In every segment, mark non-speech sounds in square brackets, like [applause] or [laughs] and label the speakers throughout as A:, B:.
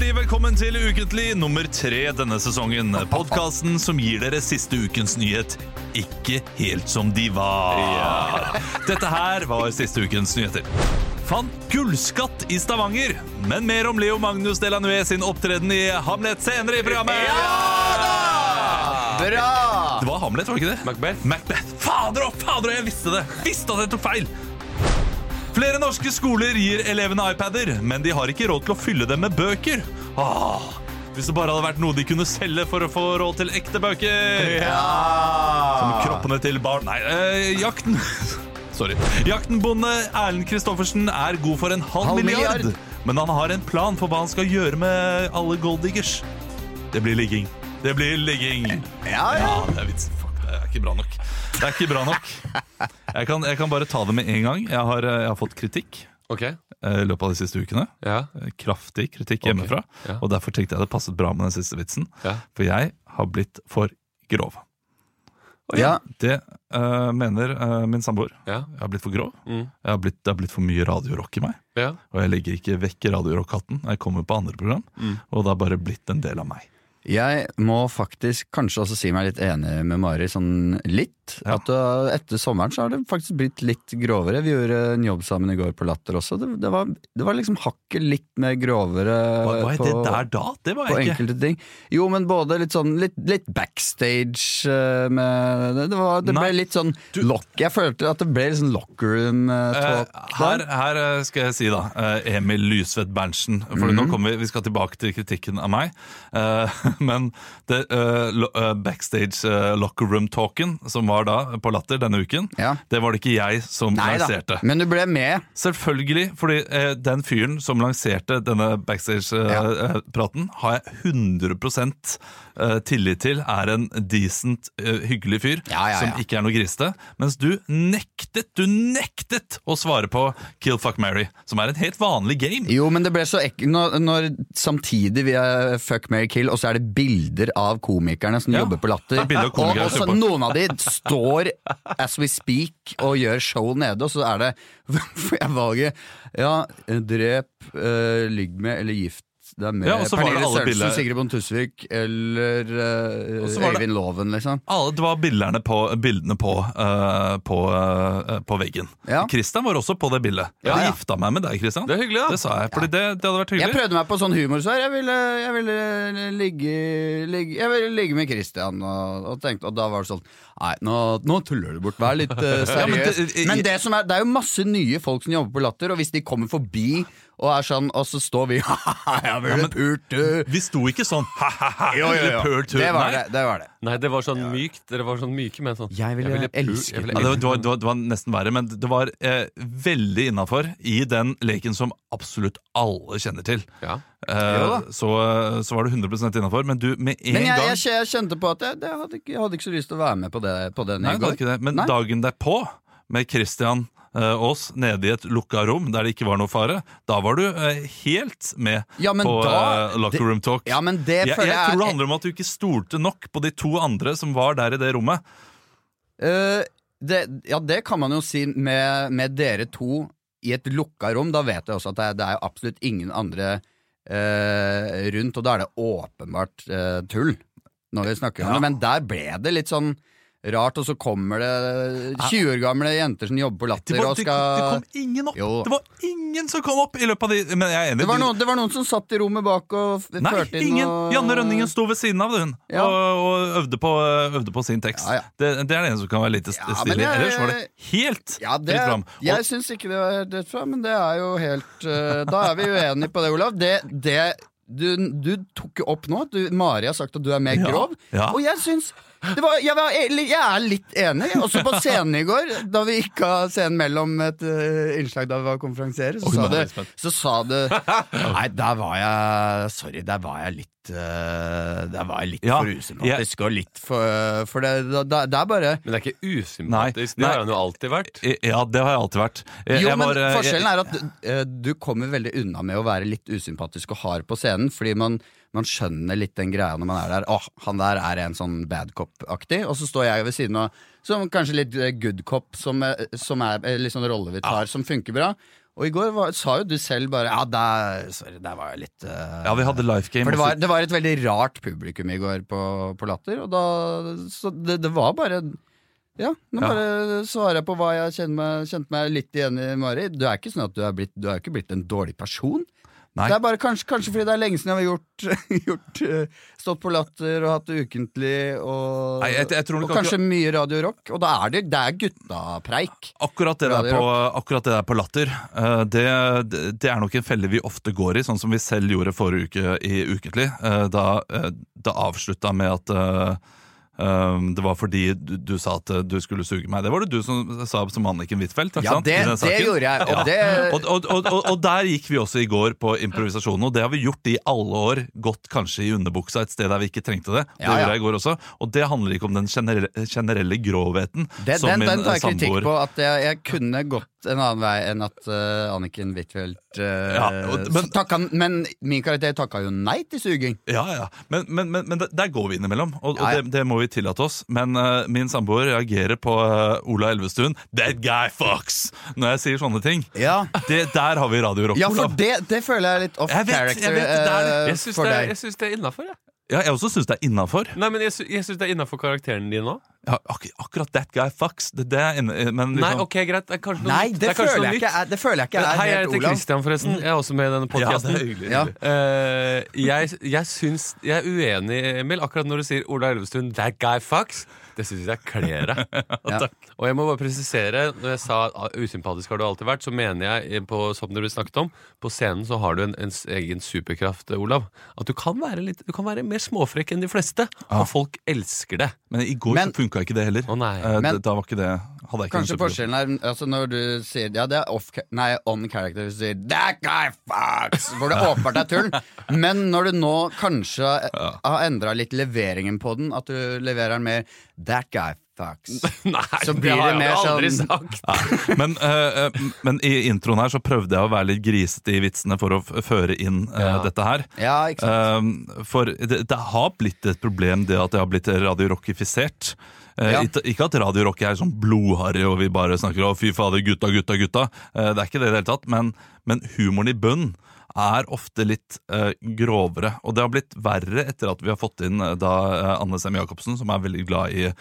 A: Velkommen til Ukentlig nummer tre denne sesongen. Podkasten som gir dere siste ukens nyhet ikke helt som de var. Dette her var siste ukens nyheter. Fant gullskatt i Stavanger. Men mer om Leo Magnus Delanue sin opptreden i Hamlet senere i programmet.
B: Bra!
A: Det var Hamlet, var det ikke det?
C: Macbeth.
A: Macbeth. Fader og fader, og jeg visste det! Visste at jeg tok feil! Flere norske skoler gir elevene iPader, men de har ikke råd til å fylle dem med bøker. Åh, hvis det bare hadde vært noe de kunne selge for å få råd til ekte bøker! Som kroppene til barn Nei, eh, jakten [laughs] Sorry. Jaktenbonde Erlend Kristoffersen er god for en halv,
B: Halv
A: milliard.
B: milliard.
A: Men han har en plan for hva han skal gjøre med alle golddiggers. Det blir ligging. Det blir ligging.
B: Ja, ja.
A: Ja, det er vitsen. Fuck, det er ikke bra nok. Det er ikke bra nok. Jeg kan, jeg kan bare ta det med en gang. Jeg har, eh, jeg har fått kritikk
C: Ok,
A: eh, i løpet av de siste ukene.
C: ja.
A: Eh, Kraftig kritikk hjemmefra.
C: ja.
A: Og derfor tenkte jeg det passet bra med den siste vitsen.
C: Ja.
A: For jeg har blitt for grov.
B: ja.
A: Det eh, mener eh, min samboer.
C: Ja.
A: Jeg har blitt for grov.
C: Mm.
A: Jeg har blitt, det har blitt for mye radiorock i meg.
C: ja.
A: Og jeg legger ikke vekk radiorock-hatten. Jeg kommer på andre program,
C: Mm.
A: og det har bare blitt en del av meg.
B: Jeg må faktisk kanskje også si meg litt enig med Mari, sånn litt.
A: Ja.
B: At uh, etter sommeren så har det faktisk blitt litt grovere. Vi gjorde en jobb sammen i går på Latter også. Det, det, var, det var liksom hakket litt mer grovere
A: Hva, hva er
B: Eh, på,
A: det der da? Det var
B: på
A: jeg ikke.
B: enkelte ting. Jo, men både litt sånn litt, litt backstage uh, med Det, det, var, det
A: Nei,
B: ble litt sånn lock... Jeg følte at det ble litt sånn locker room uh,
A: Eh,
B: talk.
A: her,
B: der.
A: her eh, skal jeg si da eh, Emil Lysvedt Berntsen. For
B: Mhm.
A: nå kommer vi, vi skal tilbake til kritikken av meg. Eh, [laughs] men det eh, lo- eh, backstage eh, locker room-talken som var da på Latter denne uken,
B: Ja.
A: det var det ikke jeg som
B: Nei da,
A: lanserte.
B: men du ble med.
A: Selvfølgelig, fordi eh, den fyren som lanserte denne backstage-praten, har jeg 100 eh, tillit til er en decent, eh, hyggelig fyr
B: Ja, ja, ja.
A: som ikke er noe grisete. Mens du nektet, du nektet å svare på Kill Fuck Mary, som er en helt vanlig game.
B: Jo, men det ble så ekkelt når, når samtidig vi er Fuck, Mary, Kill, og så er det bilder av komikerne som
A: Ja,
B: jobber på Latter.
A: det er bilder av
B: og
A: komikerne
B: og
A: som
B: så
A: jobber.
B: noen av de står as we speak og gjør show nede, og så er det [laughs] For jeg valget Ja, drep, eh, ligg med eller gift. Det er med
A: Ja, og så var det
B: Pernille
A: alle bilder.
B: Sørensen, Sigrid Bonde Tusvik eller eh,
A: Og så var det-
B: Øyvind Loven, liksom.
A: Alle, det var bildene på, bildene på, eh, på, eh, på veggen.
B: Ja.
A: Kristian var også på det bildet.
B: Ja,
A: Jeg
B: ja.
A: gifta meg med deg, Kristian.
C: Det er hyggelig, da.
A: Det sa jeg, fordi det, det hadde vært
B: Jeg
A: hyggelig.
B: prøvde meg på sånn humor, så jeg ville, jeg ville, ligge, ligge, jeg ville ligge med Christian, og, og, tenkte, og da var det sånn Nei, nå, nå tuller du bort, vær litt
A: [laughs]
B: eh,
A: Ja, men
B: seriøs.
A: det- i-
B: Men det som er, det er jo masse nye folk som jobber på Latter, og hvis de kommer forbi og er sånn, og så står vi [laughs] Ja, men pult, du.
A: Vi sto ikke sånn ha-ha-ha
B: Jo, jo,
A: eller
B: jo.
A: pøl tur.
B: Det
A: Nei.
B: var det. det, var det.
C: Nei, det var sånn mykt. Dere var sånn myke, men sånn
B: Jeg ville
C: pu-
B: elsket
C: jeg ville
A: Ja, det, var, det, var, det, var, det var nesten verre, men det var eh, veldig innafor i den leken som absolutt alle kjenner til.
C: Ja.
A: Eh,
B: Jo da.
A: så, så var det 100 innafor, men du med en
B: Men jeg,
A: gang
B: jeg, jeg kjente på at jeg, det hadde ikke, jeg hadde ikke så lyst til å være med på, det, på den
A: Nei,
B: i
A: det var
B: går.
A: ikke det, men
B: Nei.
A: dagen derpå, med Christian eh, Aas nede i et lukka rom der det ikke var noe fare, da var du eh, helt med
B: Ja, men
A: på
B: da-
A: eh, locker room talk.
B: Ja, men det
A: jeg, jeg,
B: føler jeg
A: tror
B: er
A: det handler om at du ikke stolte nok på de to andre som var der i det rommet.
B: Eh, det, ja, det kan man jo si med, med dere to i et lukka rom. Da vet jeg også at det er, det er jo absolutt ingen andre eh, rundt, og da er det åpenbart eh, tull når vi snakker om
A: Ja.
B: det. Men der ble det litt sånn rart, og så kommer det 20 år gamle jenter som jobber på
A: Det,
B: Latter
A: var,
B: og
A: det, det
B: skal
A: kom ingen opp!
B: Jo.
A: Det var ingen som kom opp i løpet av de Men jeg er enig.
B: det var,
A: de-
B: noen, det var noen som satt i rommet bak og f-
A: Nei,
B: førte inn
A: ingen!
B: og
A: Janne Rønningen sto ved siden av det, hun
B: Ja.
A: og, og øvde, på, øvde på sin tekst.
B: Ja, ja.
A: Det, det er det eneste som kan være litt
B: Ja,
A: stilig.
B: men jeg-
A: Ellers var det helt
B: Ja, det,
A: fritt fram. Og
B: jeg syns ikke det var rett fram, men det er jo helt eh, Da er vi uenige på det, Olav. Det, det du, du tok jo opp nå at du- Mari har sagt at du er mer
A: Ja,
B: grov,
A: ja.
B: og jeg syns det var, jeg, var, egentlig- jeg er litt enig. Også på scenen i går, da vi gikk av scenen mellom et eh, innslag da vi var konferansierer, så,
A: Oi, nå
B: sa
A: er
B: det,
A: jeg spent.
B: så sa det Nei, der var jeg Sorry, der var jeg litt eh, Der var jeg litt
A: Ja,
B: for usympatisk og litt for For det, da- da- det er bare
C: Men det er ikke
A: Nei,
C: usympatisk. Det
A: nei.
C: har han jo alltid vært.
A: Ja, det har jeg alltid vært. Jeg-
B: Jo,
A: jeg var,
B: men
A: eh,
B: forskjellen er at eh, du kommer veldig unna med å være litt usympatisk og hard på scenen, fordi man, man skjønner litt den greia når man er der. Åh, han der er en sånn bad cop-aktig. Og så står jeg ved siden
A: Ah.
B: av som kanskje litt eh, good cop, som, eh, som er eh, litt sånn rolle vi tar, som funker bra. Og i går var, sa jo du selv bare Ja, der, sorry, der var jeg litt eh,
A: Ja, vi hadde life game.
B: For det var,
A: også.
B: det var et veldig rart publikum i går på, på Latter, og da Så det, det var bare ja, nå
A: Ja.
B: bare svarer jeg på hva jeg kjenner meg, kjente meg litt igjen i, Mari. Du er ikke sånn at du er blitt, du er ikke blitt en dårlig person.
A: Nei.
B: Det er bare kanskje, kanskje fordi det er lenge siden jeg har gjort, [laughs] gjort eh, stått på latter og hatt det ukentlig og,
A: Nei, jeg- jeg tror nok
B: og
A: akkurat-
B: kanskje mye Radio Rock. Og da er det, det er guttapreik.
A: Akkurat det, der
B: Radio
A: på, akkurat det der på latter, eh, det, det- det er nok en felle vi ofte går i, sånn som vi selv gjorde forrige uke i Ukentlig. eh, Da, eh, da avslutta med at eh, eh, det var fordi du, du sa at eh, du skulle suge meg. Det var det du som sa som Anniken Huitfeldt. ikke
B: Ja,
A: sant,
B: det,
A: i den
B: det
A: saken?
B: gjorde jeg. Og
A: Ja.
B: det,
A: Og, og, og, og, og der gikk vi også i går på improvisasjonen, og det har vi gjort i alle år. Gått kanskje i underbuksa et sted der vi ikke trengte det. Det
B: Ja, ja.
A: gjorde jeg i går også. Og det handler ikke om den generelle, generelle grovheten
B: det,
A: som
B: den,
A: min
B: den tar
A: eh,
B: jeg kritikk
A: samboer
B: på, at jeg, jeg kunne gått en annen vei enn at eh, Anniken Huitfeldt eh,
A: Ja, og- men-
B: så takka, men min karakter takka jo nei til suging.
A: Ja, ja. Men, men, men, men der- der går vi innimellom, og,
B: Ja, ja.
A: og det, det må vi tillate oss. Men eh, min samboer reagerer på eh, Ola Elvestuen 'That guy fucks' når jeg sier sånne ting.
B: Ja,
A: Det, der har vi Radio Rock,
B: ja for
A: Olav.
B: det, det føler jeg er litt off
A: Jeg vet, jeg
B: character
A: vet, det er det.
B: eh,
A: Jeg
C: Jeg syns
B: for
C: det,
B: deg.
C: jeg syns det er innafor, jeg.
A: Ja, jeg også syns det er innafor.
C: Nei, men jeg, sy- jeg syns det er innafor karakteren din òg.
A: Ja, ak akkurat 'that guy fucks' det, det er inne, men
C: Nei,
A: liksom,
C: ok, greit. Det er kanskje noe
B: Nei,
C: nytt.
B: det
C: er kanskje
B: føler,
C: noe
B: jeg ikke,
C: nytt.
B: er, det føler jeg ikke
C: Men
B: er
C: Hei, jeg
B: helt
C: heter
B: Olav.
C: Christian, forresten. Jeg er også med i denne
A: Ja, det
C: podkasten.
A: er hyggelig.
B: Ja.
C: Eh, jeg, jeg syns Jeg er uenig, Emil, akkurat når du sier Ola Elvestuen 'that guy fucks'. Det syns jeg
A: [laughs]
C: kler deg.
B: Ja.
C: Og jeg må bare presisere, når jeg sa ah, usympatisk har du alltid vært, så mener jeg, eh, på, som dere snakket om, på scenen så har du en, en s- egen superkraft, eh, Olav. At du kan være, litt, du kan være mer småfrekk enn de fleste,
A: Ja.
C: og folk elsker det.
A: Men i går
B: Men-
A: så funka ikke det heller.
C: Å nei.
A: Eh,
B: Men-
A: det- da var ikke det hadde jeg ikke
B: Kanskje
A: noe superkraft.
B: forskjellen er altså Når du sier Ja, det er off Nei, on character Hvis du sier That guy fucks Hvor det åpenbart er tull Men når du nå kanskje Har endret litt leveringen på den At du leverer den mer That guy fucks
C: [laughs] Nei,
B: Så blir det mer sånn-
C: sagt.
A: Nei. Men, eh, eh, men i introen her så prøvde jeg å være litt grisete i vitsene for å f- føre inn eh,
C: Ja.
A: dette her.
B: Ja, ikke sant
A: Um, for det, det har blitt et problem det at det har blitt radiorockifisert. Eh,
B: Ja.
A: ikke- Ikke at radiorock er sånn blodharry og vi bare snakker om 'fy fader, gutta, gutta, gutta'. Eh, det er ikke det i det hele tatt. Men, men humoren i bunnen er ofte litt eh, grovere. Og det har blitt verre etter at vi har fått inn eh, da eh, Anne Sem Jacobsen, som er veldig glad i eh,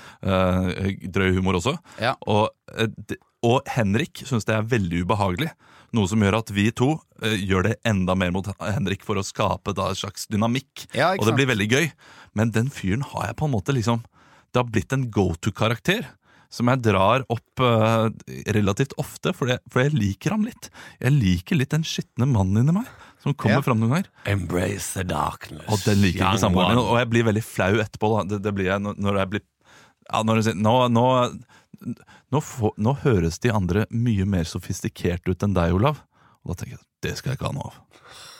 A: drøy humor også.
B: Ja.
A: Og, eh, det- og Henrik syns det er veldig ubehagelig. Noe som gjør at vi to eh, gjør det enda mer mot Henrik for å skape da en slags dynamikk.
B: Ja,
A: og
B: ikke
A: det
B: sant
A: blir veldig gøy. Men den fyren har jeg på en måte liksom Det har blitt en go to-karakter. Som jeg drar opp eh, relativt ofte, for, det, for jeg liker ham litt. Jeg liker litt den skitne mannen inni meg, som kommer
B: Ja.
A: fram noen ganger.
C: Embrace the darkness.
A: Og den liker
C: young
A: ikke samboeren min,
C: one.
A: og jeg blir veldig flau etterpå. Da. Det, det blir jeg når- når jeg blir ja, når jeg sier, nå, nå, nå, få- nå høres de andre mye mer sofistikerte ut enn deg, Olav. Og da tenker jeg det skal jeg ikke ha noe av.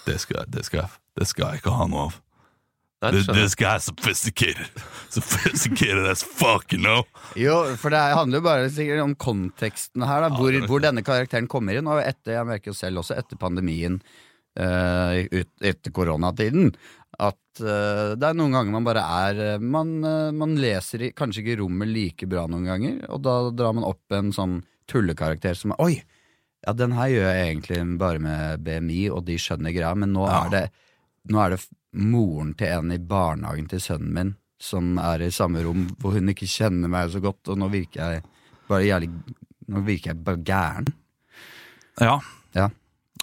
A: Det skal, jeg- det skal, jeg- det skal jeg ikke ha noe av.
C: Nei, det
A: This,
C: skjønner jeg.
A: this guy is sophisticated. Sophisticated as fuck, you know.
B: Jo, for det handler jo bare sikkert om konteksten her da, hvor,
A: det er
B: hvor denne karakteren kommer inn Og etter, jeg merker jo selv også Etter pandemien eh, ut, Etter koronatiden At eh, det er noen ganger man bare er eh, Man, eh, man leser i, kanskje ikke rommet like bra noen ganger Og da drar man opp en sånn tullekarakter som er Oi, ja den her gjør jeg egentlig bare med BMI Og de skjønner greia Men nå
A: Ja.
B: er det nå er det f- moren til en i barnehagen til sønnen min som er i samme rom, hvor hun ikke kjenner meg så godt, og nå virker jeg bare jævlig Nå virker jeg bare gæren.
A: Ja.
B: Ja.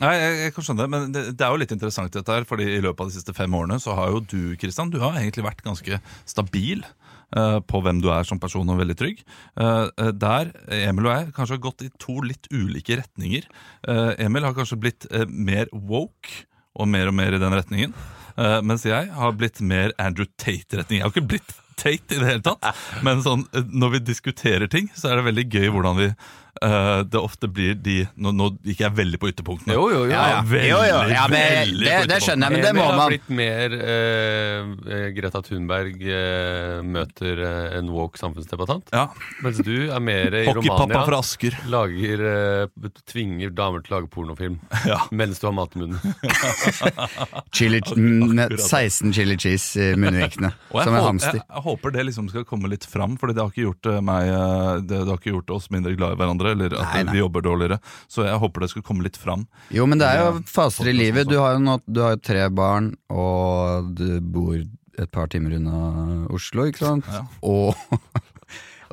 A: Nei, jeg, jeg kan skjønne det, men det, det er jo litt interessant dette her, fordi i løpet av de siste fem årene så har jo du, Kristian, du har egentlig vært ganske stabil eh, på hvem du er som person og veldig trygg. Eh, eh, der Emil og jeg kanskje har gått i to litt ulike retninger. Eh, Emil har kanskje blitt eh, mer woke og mer og mer i den retningen, eh, mens jeg har blitt mer Andrew Tate-retning. Jeg har ikke blitt Tate i det hele tatt, men sånn, eh, når vi diskuterer ting, så er det veldig gøy hvordan vi eh, det ofte blir de Nå, nå gikk jeg veldig på ytterpunktene.
C: Jo, jo, jo.
A: Ja, ja. Veldig,
B: Jo, jo, ja, men
A: veldig
B: det, det skjønner jeg, men det må
C: Emil har
B: man.
C: blitt mer eh, eh, Greta Thunberg eh, møter eh, en woke samfunnsdebattant.
A: Ja.
C: Mens du er mer i
A: Hockeypappa
C: Romania.
A: fra Asker.
C: Lager, eh, tvinger damer til å lage pornofilm
A: [laughs] Ja.
C: mens du har mat
A: [laughs]
C: i munnen.
B: Chili,
A: Akkurat.
B: 16 chili cheese i munnvikene,
A: Og jeg,
B: som en
A: håper,
B: hamster.
A: jeg, jeg håper det liksom skal komme litt fram, Fordi det har ikke gjort eh, meg eh, det, det har ikke gjort oss mindre glad i hverandre. hverandre, eller at
B: Nei, nei.
A: vi jobber dårligere. Så jeg håper det skulle komme litt fram.
B: Jo, men det er jo
A: Ja,
B: faser i
A: podcast
B: livet.
A: og
B: Du har jo, nå, du har jo tre barn, og du bor et par timer unna Oslo, ikke sant?
A: Ja.
B: Og,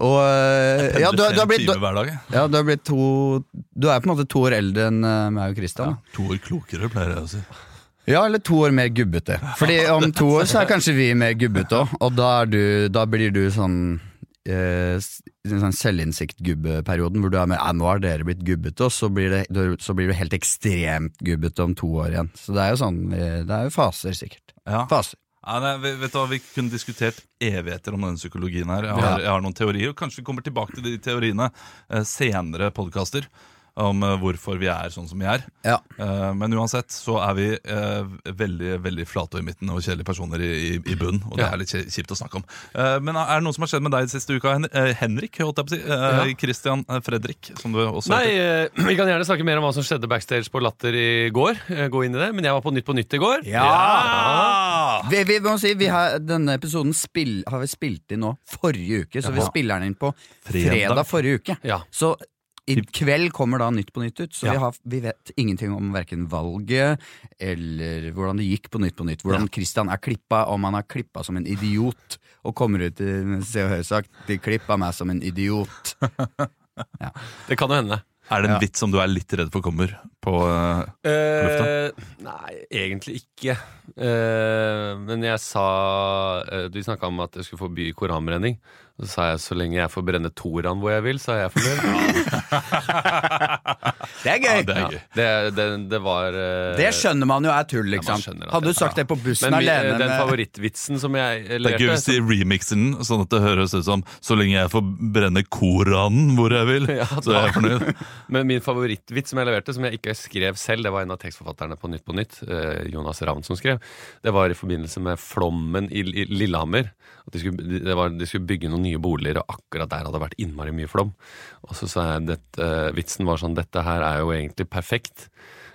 B: og eh, ja, du, har- du, har blitt,
A: time
B: du,
A: hver dag. jeg.
B: ja, du har blitt to Du er på en måte to år eldre enn eh, meg og Christian. da.
A: To år klokere, pleier jeg å si.
B: Ja, eller to år mer gubbete. Fordi om to år så er kanskje vi mer gubbete òg, og da, er du, da blir du sånn Eh, s- en sånn selvinnsikt-gubbeperioden hvor du er med ja, 'nå har dere blitt gubbete', og så blir, det, du- så blir du helt ekstremt gubbete om to år igjen. Så det er jo sånn eh, Det er jo faser, sikkert.
A: Ja.
B: Faser.
A: Ja, nei, vet vet du hva, Vi kunne diskutert evigheter om denne psykologien. her Jeg har, jeg har noen teorier, og Kanskje vi kommer tilbake til de teoriene eh, senere podkaster. Om eh, hvorfor vi er sånn som vi er.
B: Ja.
A: Eh, men uansett så er vi eh, veldig veldig flate og i midten og kjedelige personer i, i, i bunnen. Og det
C: Ja.
A: er litt kje- kjipt å snakke om. Eh, men er det noe som har skjedd med deg siste uka, Hen eh, Henrik? holdt jeg på å si Eh,
C: Ja.
A: Christian eh, Fredrik, som du også
C: Nei,
A: heter.
C: eh, Vi kan gjerne snakke mer om hva som skjedde backstage på Latter i går. Eh, Gå inn i det, Men jeg var på Nytt på Nytt i går.
A: Ja!
B: Vi, vi må si, vi har, denne episoden spill, har vi spilt inn nå forrige uke, så vi
C: Jaha.
B: spiller den inn på
A: Fredag.
B: fredag forrige uke.
C: Ja.
B: Så i kveld kommer da Nytt på Nytt ut, så
C: Ja.
B: vi, har, vi vet ingenting om verken valget eller hvordan det gikk på Nytt på Nytt. Hvordan Christian er klippa, om han er klippa som en idiot og kommer ut i en Se og Hør-sak 'De klippa meg som en idiot'.
C: Det kan jo hende.
A: Er det en
B: Ja.
A: vits som du er litt redd for kommer på eh,
C: Eh, nei, egentlig ikke. Eh, men jeg sa eh, Du snakka om at jeg skulle forby koranbrenning. Så sa jeg så lenge jeg får brenne toran hvor jeg vil, så er jeg fornøyd.
B: Det er gøy!
A: Ja, det
C: Ja,
A: er gøy.
C: det, det, det var eh,
B: Det skjønner man jo er tull,
C: man
B: liksom.
C: skjønner at
B: Hadde du
C: det-
B: sagt det på bussen
C: Men mi-
B: alene
C: den
B: med
C: favorittvitsen som jeg
A: Det er gøy
C: lærte
A: hvis de remixer den, sånn at det høres ut som 'så lenge jeg får brenne Koranen hvor jeg vil',
C: Ja,
A: så er jeg
C: da.
A: fornøyd.
C: [laughs] Men min favorittvits som jeg leverte, som jeg ikke skrev selv, det var en av tekstforfatterne på Nytt på Nytt, eh, Jonas Ravn, som skrev. Det var i forbindelse med flommen i, i Lillehammer. At de skulle, det var, de skulle bygge noen nye boliger, og akkurat der hadde det vært innmari mye flom. Og så sa jeg dette, eh, vitsen var sånn Dette her er jo egentlig perfekt.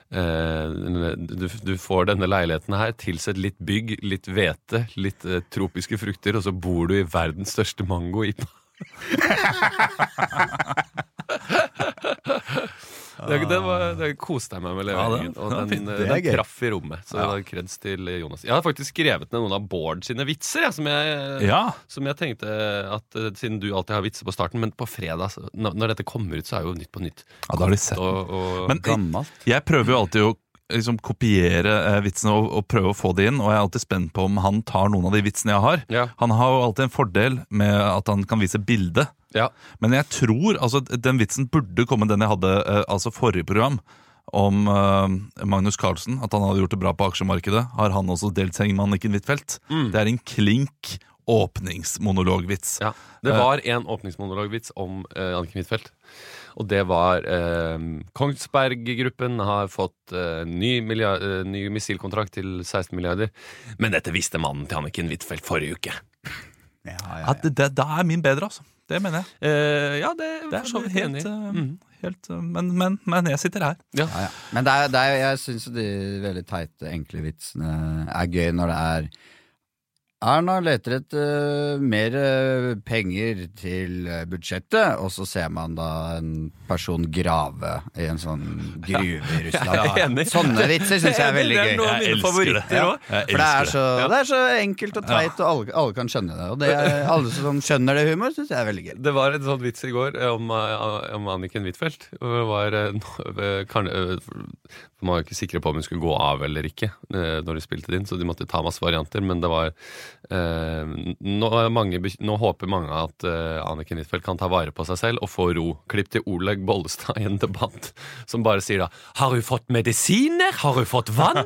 C: Eh, du, du får denne leiligheten her, tilsett litt bygg, litt hvete, litt eh, tropiske frukter, og så bor du i verdens største mango i [laughs] Det, den var, det koste jeg meg med
A: Ja, det-
C: leveringen.
A: det
C: og
A: var
C: den,
A: fint.
C: eh,
B: Det er
C: den
B: gøy.
C: traff i rommet. Så det var kreds til Jonas. Jeg har faktisk skrevet ned noen av Bård sine vitser. Jeg, eh, som, jeg,
A: Ja,
C: som jeg tenkte at eh, Siden du alltid har vitser på starten, men på fredag, så- når, når dette kommer ut, så er jo Nytt på Nytt.
A: ja da har de sett den.
C: Og, og,
A: Men jeg,
B: Gammelt.
A: jeg prøver jo alltid å liksom, kopiere eh, vitsene og, og prøve å få de inn, og jeg er alltid spent på om han tar noen av de vitsene jeg har.
C: ja,
A: Han har jo alltid en fordel med at han kan vise bilde,
C: ja.
A: men jeg tror altså, den vitsen burde komme den jeg hadde eh, altså forrige program. Om eh, Magnus Carlsen, at han hadde gjort det bra på aksjemarkedet. Har han også delt seng med Anniken Huitfeldt?
C: Mm.
A: Det er en klink åpningsmonologvits.
C: Ja, Det var en åpningsmonologvits om eh, Anniken Huitfeldt. Og det var eh, Kongsberg-gruppen har fått eh, ny, milliard, eh, ny missilkontrakt til 16 milliarder. Men dette visste mannen til Anniken Huitfeldt forrige uke.
B: Ja,
A: Ja, det, det, da er min bedre, altså. Det mener jeg.
C: Eh, ja, det,
A: Det er så
C: jeg
A: helt,
C: enig i.
A: eh,
C: Mhm.
A: helt eh, men, men, men jeg sitter her.
C: Ja.
B: Ja, ja. Men det er, det er, jeg syns jo de veldig teite, enkle vitsene er gøy når det er Erna leter etter mer eh, penger til eh, budsjettet, og så ser man da en person grave i en sånn gruve
C: [laughs]
B: i
C: Jeg er
B: Russland.
C: enig.
B: Sånne vitser syns jeg er veldig
C: Det er noe
B: gøy.
C: av
A: Jeg
C: mine
A: elsker det.
C: favoritter òg.
A: Jeg
B: For det er,
A: elsker det.
B: så, det er så enkelt og teit, og alle, alle kan skjønne det. Og det er, alle som skjønner det humor, syns jeg er veldig gøy.
C: Det var en sånn vits i går eh, om, eh, om Anniken Huitfeldt. Og Det var eh, no- eh, kan- eh, Man var jo ikke sikre på om hun skulle gå av eller ikke eh, når de spilte det inn, så de måtte ta masse varianter. Men det var eh, Nå, er mange, bek- nå håper mange at eh, Anniken Huitfeldt kan ta vare på seg selv og få ro. Klipp til Olaug Bollestad i en debatt som bare sier da Har hun fått medisiner? Har hun fått vann?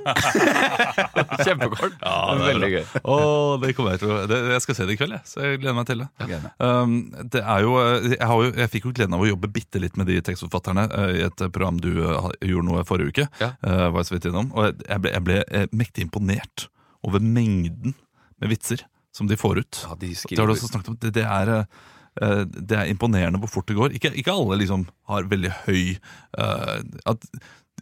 C: Kjempekort.
A: Ja, det er
C: Veldig gøy.
A: Å, det kommer jeg til å det, Jeg skal se det i kveld, jeg. Så jeg gleder meg til det.
B: Gleder meg.
A: Um, det er jo, eh, jeg, har jo, jeg fikk jo gleden av å jobbe bitte litt med de tekstforfatterne eh, i et eh, program du eh, ha- gjorde noe forrige uke.
C: Ja.
A: eh, var jeg så vidt innom, og jeg- jeg ble, jeg ble eh, mektig imponert over mengden med vitser som de får ut.
C: [laughs] Ja,
A: Det
C: de
A: har du
C: skriver
A: også snakket om. Det, det, er, eh, det er imponerende hvor fort det går. Ikke, ikke alle liksom har veldig høy eh, at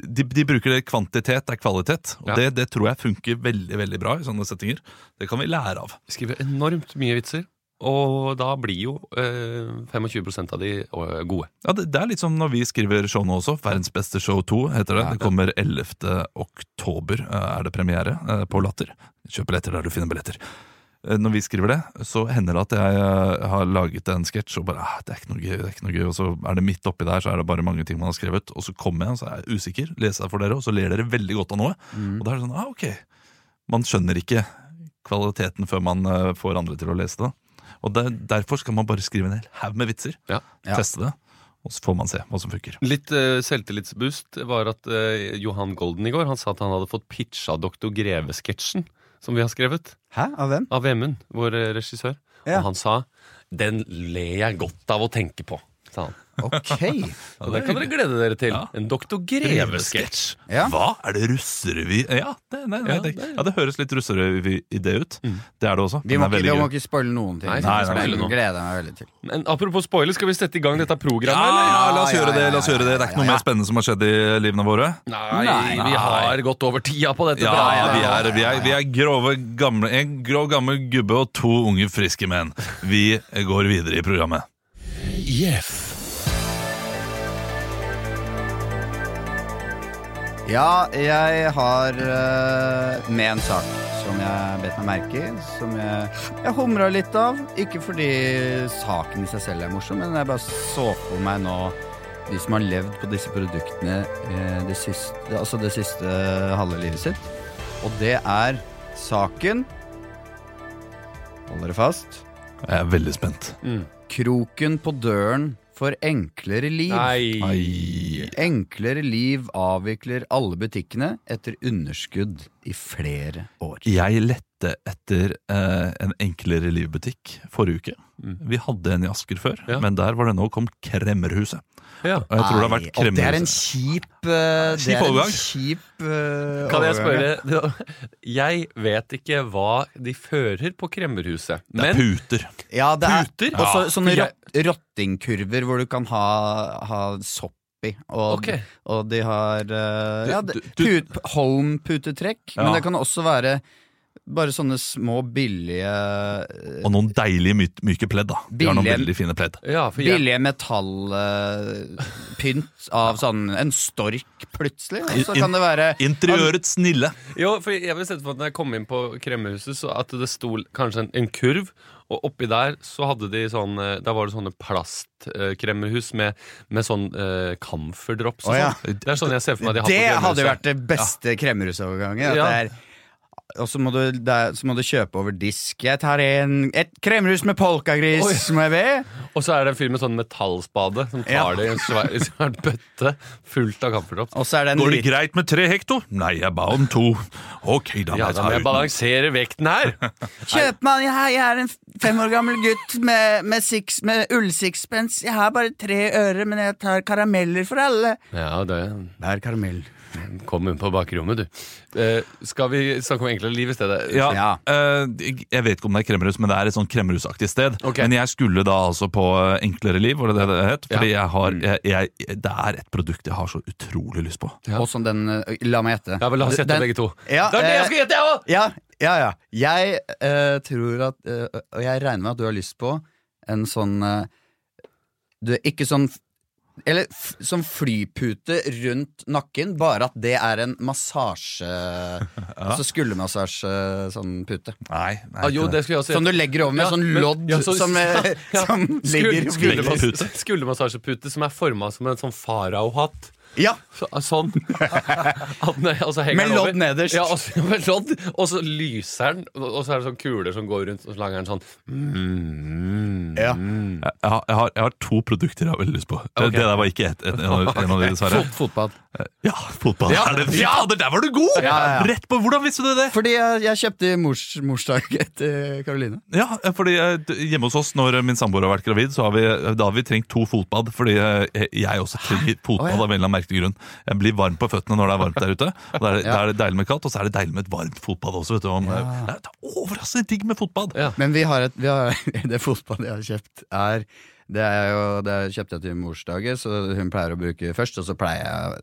A: de, de bruker det kvantitet er kvalitet, og
C: Ja.
A: det, det tror jeg funker veldig veldig bra i sånne settinger. Det kan vi lære av.
C: skriver enormt mye vitser. Og da blir jo eh, 25 av de eh, gode.
A: Ja, det, det er litt som når vi skriver show nå også. Verdens beste show 2 heter det. Det kommer 11. oktober eh, er det premiere eh, på Latter. Kjøp billetter der du finner billetter. Eh, Når vi skriver det, så hender det at jeg eh, har laget en sketsj og bare ah, det, er ikke noe gøy, det er ikke noe gøy, og så er det midt oppi der, så er det bare mange ting man har skrevet, og så kommer jeg, og så er jeg usikker, leser jeg for dere, og så ler dere veldig godt av noe. Og da er det sånn, ah, ok. Man skjønner ikke kvaliteten før man eh, får andre til å lese det. Og der, derfor skal man bare skrive en hel haug med vitser
C: Ja.
B: Ja.
A: teste det, og så får man se hva som funker.
C: Litt eh, selvtillitsboost var at eh, Johan Golden i går Han sa at han hadde fått pitcha Dr. Greve-sketsjen som vi har skrevet,
B: Hæ? Av hvem?
C: av Vemund, vår eh, regissør.
B: Ja.
C: Og han sa 'Den ler jeg godt av å tenke på', sa han.
B: Ok.
C: Og den kan dere glede dere til.
A: Ja.
C: En Dr. Greve-sketsj.
B: Ja.
A: Hva? Er det russerevy? Ja, det, nei, nei,
C: Ja,
A: det, Mm.
C: det-
A: ja, det høres litt russerevy i det ut. Det er det også.
B: Vi
A: men
B: må,
A: det er
B: ikke, vi
A: veldig
B: må
A: gøy.
B: ikke spoile noen ting.
C: Nei,
A: nei,
B: som
A: nei,
B: jeg
C: nei.
B: gleder meg veldig til.
C: Men apropos spoiler, skal vi sette i gang dette
A: Ja,
C: programmet, eller?
A: ja, la oss
B: Ja,
A: gjøre
B: ja,
A: det.
B: ja,
A: la oss gjøre det Det er ikke noe
B: ja, ja.
A: mer spennende som har skjedd i livene våre.
C: Nei,
B: Nei.
C: vi har gått over tida på dette.
A: Ja,
C: programmet.
A: vi er, vi er, vi er grove, gamle En grå, gammel gubbe og to unge, friske menn. Vi går videre i programmet.
B: Ja, jeg har eh, med en sak som jeg bet meg merke i. Som jeg, jeg humra litt av. Ikke fordi saken i seg selv er morsom, men jeg bare så for meg nå de som har levd på disse produktene eh, det siste, altså det siste halve livet sitt. Og det er saken Hold dere fast.
A: Jeg er veldig spent.
C: Mm.
B: Kroken på døren for enklere liv.
A: Ai.
B: Enklere liv avvikler alle butikkene etter underskudd i flere år.
A: Jeg lette etter eh, en enklere livbutikk forrige uke.
C: Mm.
A: Vi hadde en i Asker før,
C: Ja.
A: men der var det nå kom Kremmerhuset.
C: Ja.
A: Og jeg tror det har vært
B: Nei, og Det er en
A: Kremmerhuset.
B: kjip, eh, det
A: Kjip
B: er en
A: overgang.
B: kjip eh,
C: Kan jeg
B: overgang, ja.
C: spørre Jeg vet ikke hva de fører på Kremmerhuset,
A: Det
C: men
A: er puter.
B: Ja, det er,
C: Puter?
B: Og så,
C: Ja,
B: sånne
C: for jeg-
B: rott- rottingkurver hvor du kan ha, ha sopp i. Og,
C: Ok.
B: og de har eh, ja,
A: Du-
B: det-
A: du-
B: put, Home-putetrekk.
A: Ja.
B: Men det kan også være bare sånne små, billige eh,
A: Og noen deilige my myke pledd, da. De har noen
B: Billige-
A: veldig fine pledd.
C: ja, for jeg,
B: Billige metallpynt av sånn en stork plutselig. og Så
A: In-
B: kan det være
A: Interiørets snille.
C: jo, for jeg vil sette for at når jeg kom inn på Kremmerhuset, så at det sto kanskje en, en kurv, og oppi der så hadde de sånn eh, Der var det sånne plastkremmerhus med, med sånn eh, camferdrops og
B: Å, ja.
C: sånn. Det er sånn jeg ser for meg de har
B: Det hadde jo
C: på Kremmerhuset.
B: vært det beste kremmerhusovergangen. at
C: Ja.
B: det er- Og så må, du, det er- så må du kjøpe over disk. Jeg tar en, et kremmerhus med polkagris,
C: Oi.
B: må jeg be?
C: Og så er det en fyr med sånn metallspade som tar
B: Ja.
C: det i en svær, svær bøtte fullt av camferdrops.
B: Og så er det en
A: Går det
B: liten-
A: greit med tre hekto? Nei, jeg ba om to. Ok, da må
C: Ja,
A: jeg
C: da
A: ta
C: må jeg
A: ut den.
C: balansere
B: [laughs]
C: vekten her!
B: Kjøp meg, jeg, jeg er en fem år gammel gutt med, med, six, med ull-sixpence. Jeg har bare tre ører, men jeg tar karameller for alle.
C: Ja, det
B: Det er karamell.
C: Kom inn på bakrommet, du. Eh, skal vi snakke om enklere liv i stedet?
A: Ja,
B: Ja.
A: eh, jeg vet ikke om det er kremmerhus, men det er et sånn kremmerhusaktig sted.
C: Ok.
A: Men jeg skulle da altså på eh, Enklere liv, var det det det het? Fordi jeg har, jeg, jeg, det er et produkt jeg har så utrolig lyst på.
C: Ja.
B: Og som den eh, La meg gjette.
C: Ja, vel, La oss gjette
B: Den-
C: begge to.
B: Ja,
C: det er det
B: eh,
C: jeg skal gjette, jeg òg!
B: Ja, ja, ja. Jeg eh, tror at eh, Og jeg regner med at du har lyst på en sånn eh, Du er ikke sånn Eller f sånn flypute rundt nakken, bare at det er en
C: [laughs]
B: massasje Altså skuldermassasje sånn pute.
A: Nei, nei
C: Ah, jo, det skulle jeg også
B: Som du
C: gjette.
B: legger over med
C: Ja,
B: sånn
C: men-
B: lodd
C: ja, så-
B: som, eh,
C: [laughs] ja, ja.
B: som ligger
C: Skul- skuldermass-
A: Legger pute.
C: Skuldermassasjepute som er forma som en sånn faraohatt.
B: Ja!
C: Så, sånn. [laughs] At den- og så henger
B: eh, Med
C: den over.
B: lodd nederst.
C: Ja, og så, [laughs] med lodd, og så lyser den, og og så er det sånn kuler som går rundt, og så lager den sånn mm,
B: Ja.
C: mm.
A: Jeg, jeg, har, jeg har to produkter jeg har veldig lyst på. Det,
C: Ok.
A: det der var ikke et, en, en, av- en av de, dessverre.
B: Fot fotbad.
A: Ja, fotball.
C: Ja.
A: Er det, ja, det der var du god!
B: Ja, ja, ja.
A: Rett på, Hvordan visste du det?
B: Fordi jeg, jeg kjøpte i mors, morsdag etter Karoline.
A: Ja, fordi eh, d- Hjemme hos oss når eh, min samboer har vært gravid, Så har vi, eh, da har vi trengt to fotbad. Fordi eh, jeg også trenger fotbad
B: Å, ja.
A: av en eller annen merkelig grunn. Jeg blir varm på føttene når det er varmt der ute. Og da er, det-
B: Ja.
A: da er det deilig med kaldt, og så er det deilig med et varmt fotbad også. Vet du, om, eh, Det er overraskende digg med fotbad.
C: Ja.
B: [laughs] Men vi har et vi har, Det fotballet jeg har kjøpt, er Det, er jo, det kjøpte jeg til morsdager, så hun pleier å bruke først. Og så pleier jeg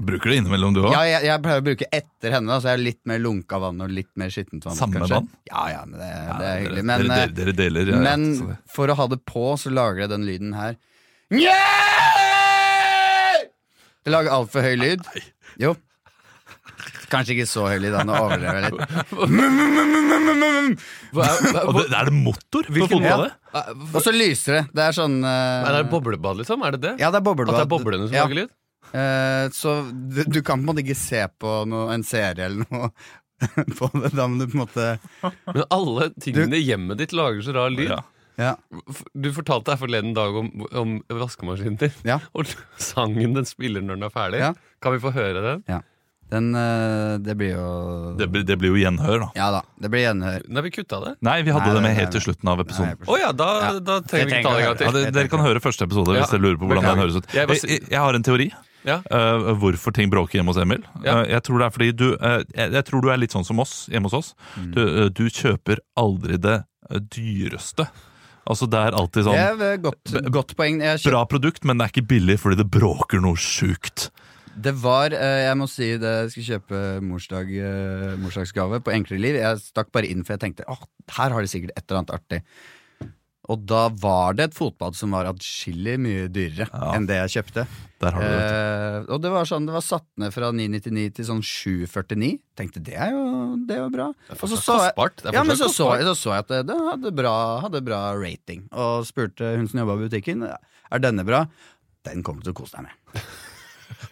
A: Bruker du det innimellom, du òg?
B: Ja, jeg, jeg pleier å bruke etter henne, da, så jeg har litt mer lunka vann og litt mer skittent vann.
A: Samme
B: kanskje.
A: vann?
B: Ja, ja, men det, det er hyggelig.
A: dere,
B: Men,
A: dere,
B: eh,
A: dere deler ja, ja,
B: men
A: så det-
B: for å ha det på, så lager jeg den lyden her. Njæ! Det lager altfor høy lyd. Jo. Kanskje ikke så høy lyd, da. Nå overdrev
A: [laughs]
B: jeg litt.
C: Hva, er- hva,
A: Og
C: hva,
A: det, Er det motor på
C: Hvilken-
A: fotballet?
C: er-
B: Og så lyser det. Det er sånn eh,
C: er det boblebad, liksom? Er det det?
B: Ja, det er
C: At
B: boblebad.
C: det er boblene som
B: Ja.
C: lager lyd?
B: Eh, så du, du kan på en måte ikke se på noe, en serie eller noe [laughs] på det. Da må du på en måte
C: Men alle tingene i hjemmet ditt lager så rar lyd.
A: Ja.
B: Ja.
C: F- Du fortalte her forleden dag om, om vaskemaskinen din.
B: ja.
C: Og [laughs] sangen den spiller når den er ferdig.
B: Ja.
C: Kan vi få høre den?
B: Den eh, Det blir jo
A: Det, blir- det blir jo gjenhør, da.
B: Ja da. Det blir gjenhør.
C: Nei, vi kutta det.
A: Nei, vi hadde
B: Nei,
A: det med
B: nei,
A: helt
B: nei.
A: til slutten av
B: Nei,
A: episoden.
B: jeg
C: Å ja, da, da trenger vi
B: Jeg
C: ikke ta det en
B: trenger å
C: gang
A: Ja,
C: til.
A: dere, dere kan høre første episode
C: Ja.
A: hvis dere lurer på hvordan
C: Beklager.
A: den høres ut.
C: Jeg bare
A: Jeg,
C: sier-
A: jeg, jeg har en teori.
C: Ja.
A: eh, hvorfor ting bråker hjemme hos Emil.
C: Ja.
A: Eh, jeg tror det er fordi du eh, jeg, jeg tror du er litt sånn som oss hjemme hos oss.
B: Mm.
A: Du, eh, du kjøper aldri det eh, dyreste. Altså Det er alltid
B: Det
A: sånn
B: er vel godt, godt poeng. Jeg kjøp,
A: bra produkt, men det er ikke billig fordi det bråker noe sjukt.
B: det var eh, Jeg må si det jeg skulle kjøpe morsdag, eh, morsdagsgave på Enklere liv. Jeg stakk bare inn, for jeg tenkte åh, her har de sikkert et eller annet artig. Og da var det et fotbad som var atskillig mye dyrere
A: Ja.
B: enn det jeg kjøpte.
A: Der har du det.
B: Eh, og det var sånn, det var satt ned fra 999 til sånn 749. Tenkte det er jo det er jo bra. Og så
C: fortsatt
B: så jeg,
C: kostbart. Det er
B: ja, men så
C: fortsatt
B: så
C: kostbart.
B: jeg, så så jeg at det, det hadde, bra, hadde bra rating. Og spurte hun som jobba i butikken er denne bra. Den kommer du til å kose deg med.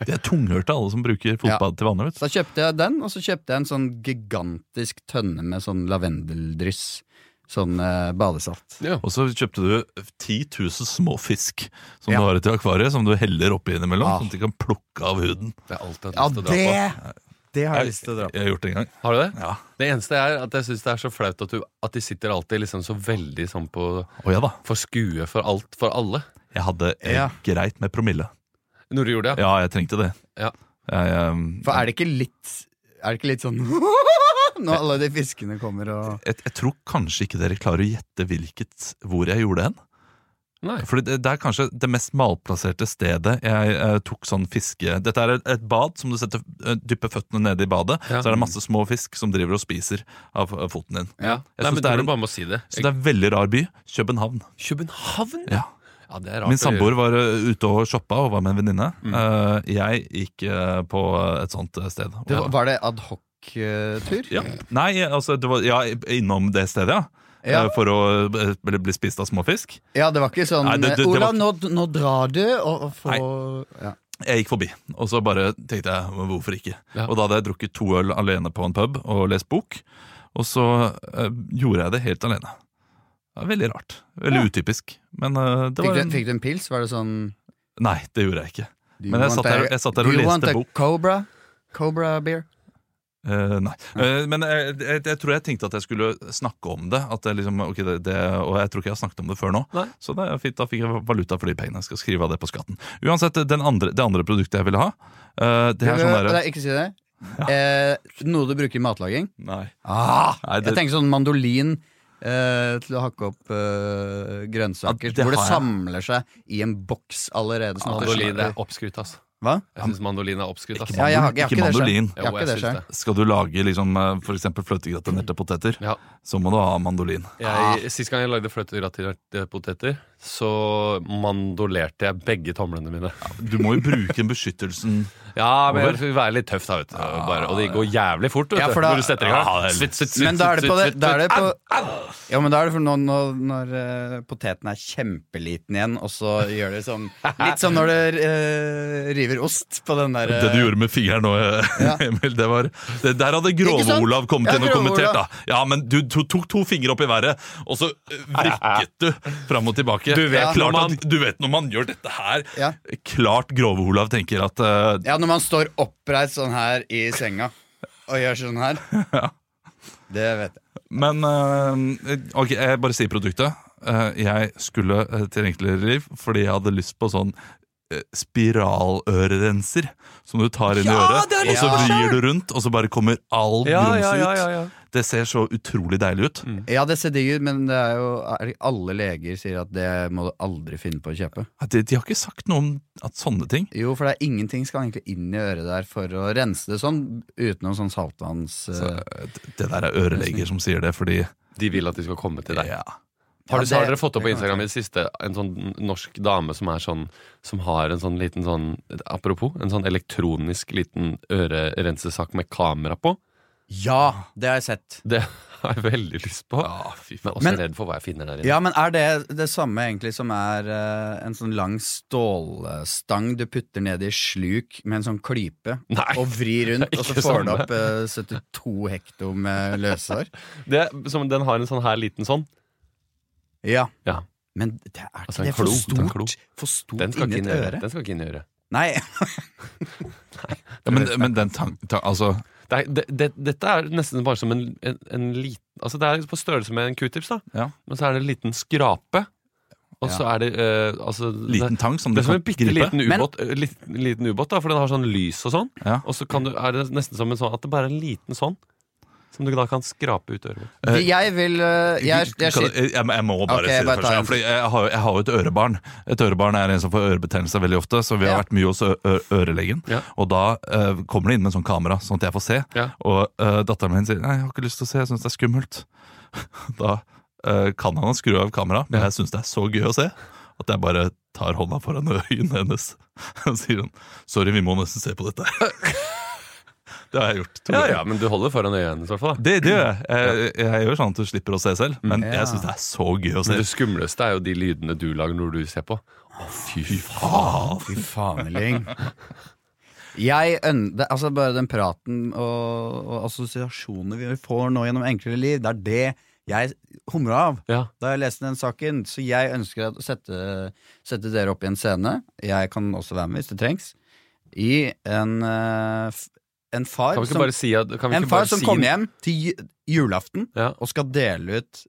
A: De er tunghørte, alle som bruker fotbad til vanlig. vet du.
B: Så da kjøpte jeg den, og så kjøpte jeg en sånn gigantisk tønne med sånn lavendeldryss. Sånn eh, badesalt.
C: Ja.
A: Og så kjøpte du 10 000 små fisk som
B: Ja.
A: du har i til akvariet, som du heller oppi innimellom,
B: Ah.
A: sånn at de kan plukke av huden.
C: Det er alt jeg
B: Ja,
C: har lyst til å
B: det,
C: dra på.
B: det har jeg lyst til å dra på.
A: Jeg har gjort det en gang.
C: Har du det?
A: Ja.
C: Det eneste er at jeg syns det er så flaut at, du, at de sitter alltid liksom så veldig sånn på
A: Å ja da.
C: For skue for alt, for alle.
A: Jeg hadde eh,
B: Ja.
A: greit med promille.
C: Nore gjorde det.
A: Ja, jeg trengte det.
C: Ja.
A: Jeg, ehm,
B: For er det ikke litt Er det ikke litt sånn [laughs] Når alle de fiskene kommer og
A: jeg, jeg tror kanskje ikke dere klarer å gjette hvilket hvor jeg gjorde hen.
C: Nei.
A: Fordi det, det er kanskje det mest malplasserte stedet jeg eh, tok sånn fiske Dette er et, et bad som du setter, eh, dypper føttene nede i badet.
C: Ja.
A: Så er det masse små fisk som driver og spiser av eh, foten din. Jeg
C: Ja. Nei,
A: synes
C: men
A: det er
C: tror
A: en-
C: du bare må si det.
A: Så det er en veldig rar by. København.
C: København?
A: Ja.
C: Ja, det er rart.
A: Min
C: å gjøre. Mm.
A: samboer var eh, ute og shoppa og var med en venninne. Eh, jeg gikk eh, på et sånt eh, sted.
B: det
A: Og-
B: var, var det adhoc-tur?
A: Ja. Nei, altså det var, ja, innom det stedet, ja.
B: Ja.
A: Eh, For å eh, bli, bli spist av småfisk.
B: Ja, det var ikke sånn
A: Nei, det- det- det
B: Ola,
A: var ikke-
B: nå, nå drar du og, og får ja.
A: Jeg gikk forbi, og så bare tenkte jeg "Men hvorfor ikke.
C: Ja.
A: Og da hadde jeg drukket to øl alene på en pub og lest bok. Og så eh, gjorde jeg det helt alene. Det var veldig rart. Veldig utypisk. Men eh, det
B: fikk,
A: var
B: du, fikk du en pils? Var det sånn
A: Nei, det gjorde jeg ikke.
B: do you
A: Men jeg
B: want
A: satt der-
B: a-
A: jeg satt der og
B: do you
A: leste
B: want a
A: bok.
B: Cobra? Cobra beer?
A: Eh, nei. Eh, men jeg, jeg, jeg tror jeg tenkte at jeg skulle snakke om det. At jeg liksom, ok, det, det. Og jeg tror ikke jeg har snakket om det før nå.
C: Nei.
A: Så det er fint, da fikk jeg valuta for de pengene. Jeg skal skrive av det på skatten. Uansett, den andre, det andre produktet jeg ville ha eh, Det er sånn
B: Nei,
A: derre
B: ikke si det. Eh, noe du bruker i matlaging?
A: Nei.
B: Ah,
A: Nei,
B: Jeg
A: det,
B: tenker sånn mandolin eh, til å hakke opp
A: Ja,
B: eh, grønnsaker.
A: det
B: hvor
A: har
B: det
A: jeg.
B: samler seg i en boks allerede. Sånn at det
C: Mandolin er
B: smaker-
C: oppskrytt, ass.
B: Hva?
C: Jeg syns mandolin er oppskrytt, ass.
A: Ikke
B: Ja, jeg har, jeg har
A: Ikke
B: ikke, det selv.
A: mandolin.
B: Jeg har
C: Jo,
B: ikke
C: jeg
B: det
C: syns
B: selv.
A: skal du lage liksom, eh, for eksempel fløtegratinerte poteter,
C: Ja.
A: så må du ha mandolin.
C: Jeg, sist gang jeg lagde fløtegratinerte poteter, så mandolerte jeg begge tomlene mine.
A: Du må jo bruke den beskyttelsen.
C: Ja, men jeg vil være litt tøff, da, vet du. Bare, og det går jævlig fort, vet
B: Ah. Ja,
C: du.
B: for da- Ah,
C: Når du setter i gang.
A: Ja, det er-
C: Svitt, svitt, svitt,
B: Men da er det på det,
C: svitt,
B: da er det
C: svitt,
B: på, Ja, men da er det for når, når, når eh, poteten er kjempeliten igjen, og så gjør det sånn Litt som når du eh, river ost på den der eh,
A: Det du gjorde med fingeren nå, eh,
B: Ja.
A: [laughs] Emil, det var det, Der hadde
B: Ikke sant?
A: Grove-Olav kommet
B: Ja,
A: inn og kommentert, da.
B: Grove-Olav.
A: Ja, men du to, tok to fingre opp i været, og så eh, vrikket du fram og tilbake.
C: Du vet
A: Det er klart
C: når man-
A: at, Du vet når man gjør dette her
B: Ja.
A: Klart Grove-Olav tenker at eh,
B: Ja, når man står oppreist sånn her i senga og gjør sånn her.
A: [laughs]
B: Det vet jeg.
A: Men eh, ok, jeg bare sier produktet. Eh, jeg skulle eh, til enklere liv fordi jeg hadde lyst på sånn eh, spiralørerenser som du tar inn i
C: Ja,
A: øret,
C: det er
A: og så
B: litt
A: vrir du rundt, og så bare kommer all
C: Ja,
A: grumset
C: ja, ja, ja,
A: ut.
C: ja. Mm.
A: Det ser så utrolig deilig ut.
B: Ja, det ser digg ut, men det er jo, er, alle leger sier at det må du aldri finne på å kjøpe.
A: Ja, De, de har ikke sagt noe om at sånne ting.
B: Jo, for det er ingenting skal egentlig inn i øret der for å rense det sånn, utenom sånn saltvanns...
A: Så,
B: eh,
A: eh, det- det der er øreleger som sier det, fordi
C: De vil at de skal komme til deg.
A: ja.
C: Har,
B: Ja,
C: du, har
B: det-
C: dere fått opp på
B: det kan
C: Instagram i det siste en sånn norsk dame som er sånn Som har en sånn liten sånn Apropos, en sånn elektronisk liten ørerensesak med kamera på?
B: Ja, det har jeg sett.
C: Det [laughs] har jeg veldig lyst på. Men også
B: Ah, Men-
C: redd for hva jeg finner der inne.
B: Ja, men er det det samme egentlig som er eh, en sånn lang stålstang du putter ned i sluk med en sånn klype?
C: Nei.
B: Og vrir
C: [laughs]
B: rundt, og så
C: ikke
B: får den
C: samme.
B: opp eh, 72 hekto med løshår?
C: Det, er som, den har en sånn her liten sånn.
B: Ja.
C: Ja.
B: Men det er ikke
C: Altså, en
B: det er for
C: klo, det er en klo.
B: stort, for stort
C: Den skal,
B: inni
C: ikke inn
B: et
C: i øret.
B: øre.
C: den skal ikke inn i øret.
B: Nei,
A: Ja, men, men den tank... Ta, altså,
C: Det er, det, det, dette er nesten bare som en, en, en liten Altså Det er på størrelse med en q-tips, da.
A: Ja.
C: Men så er det en liten skrape. Og så er det eh, altså,
A: liten tang som
C: Det
A: du
C: er som
A: kan
C: en bitte
A: gripe.
C: liten ubåt, eh, lit- liten ubåt da, for den har sånn lys og sånn.
A: Ja.
C: Og så kan du, er det nesten som en sånn at det bare er en liten sånn, som du da kan skrape ut øret med.
A: Eh,
B: jeg vil eh, Jeg, jeg,
A: Kan-
B: jeg,
A: jeg, jeg, må bare
B: Ok,
A: si det
B: bare ta
A: først. Ja,
B: en.
A: fordi jeg, har, jeg har jo et ørebarn. Et ørebarn er en som får ørebetennelse veldig ofte, så vi har
B: Ja.
A: vært mye hos ø- ø- ørelegen.
C: Ja.
A: Og da eh, kommer det inn med en sånn kamera, sånn at jeg får se.
C: Ja.
A: Og eh, datteren min sier 'nei, jeg har ikke lyst til å se, jeg syns det er skummelt'. [laughs] Da eh, kan han skru av kameraet, men jeg syns det er så gøy å se at jeg bare tar hånda foran [laughs] øynene hennes og sier sånn 'sorry, vi må nesten se på dette'. [laughs] det har jeg gjort. to
C: Ja,
A: ganger.
C: ja, men du holder foran øyet hennes i hvert fall. da.
A: Det, det gjør jeg. jeg. Jeg gjør sånn at du slipper å se selv, men
B: Ja.
A: jeg syns det er så gøy å se.
C: Men det skumleste er jo de lydene du lager når du ser på. Å, fy faen.
A: Ah,
B: Fy faneling. Jeg øn- det, altså Bare den praten og, og assosiasjonene vi får nå gjennom enklere liv, det er det jeg humrer av
C: Ja.
B: da jeg leste den saken. Så jeg ønsker å sette, sette dere opp i en scene. Jeg kan også være med hvis det trengs. I en, eh, f- en far
C: Kan vi ikke
B: som,
C: bare si at kan vi
B: en
C: ikke
B: far
C: bare
B: som
C: si,
B: kommer hjem til ju- julaften
C: Ja.
B: og skal dele ut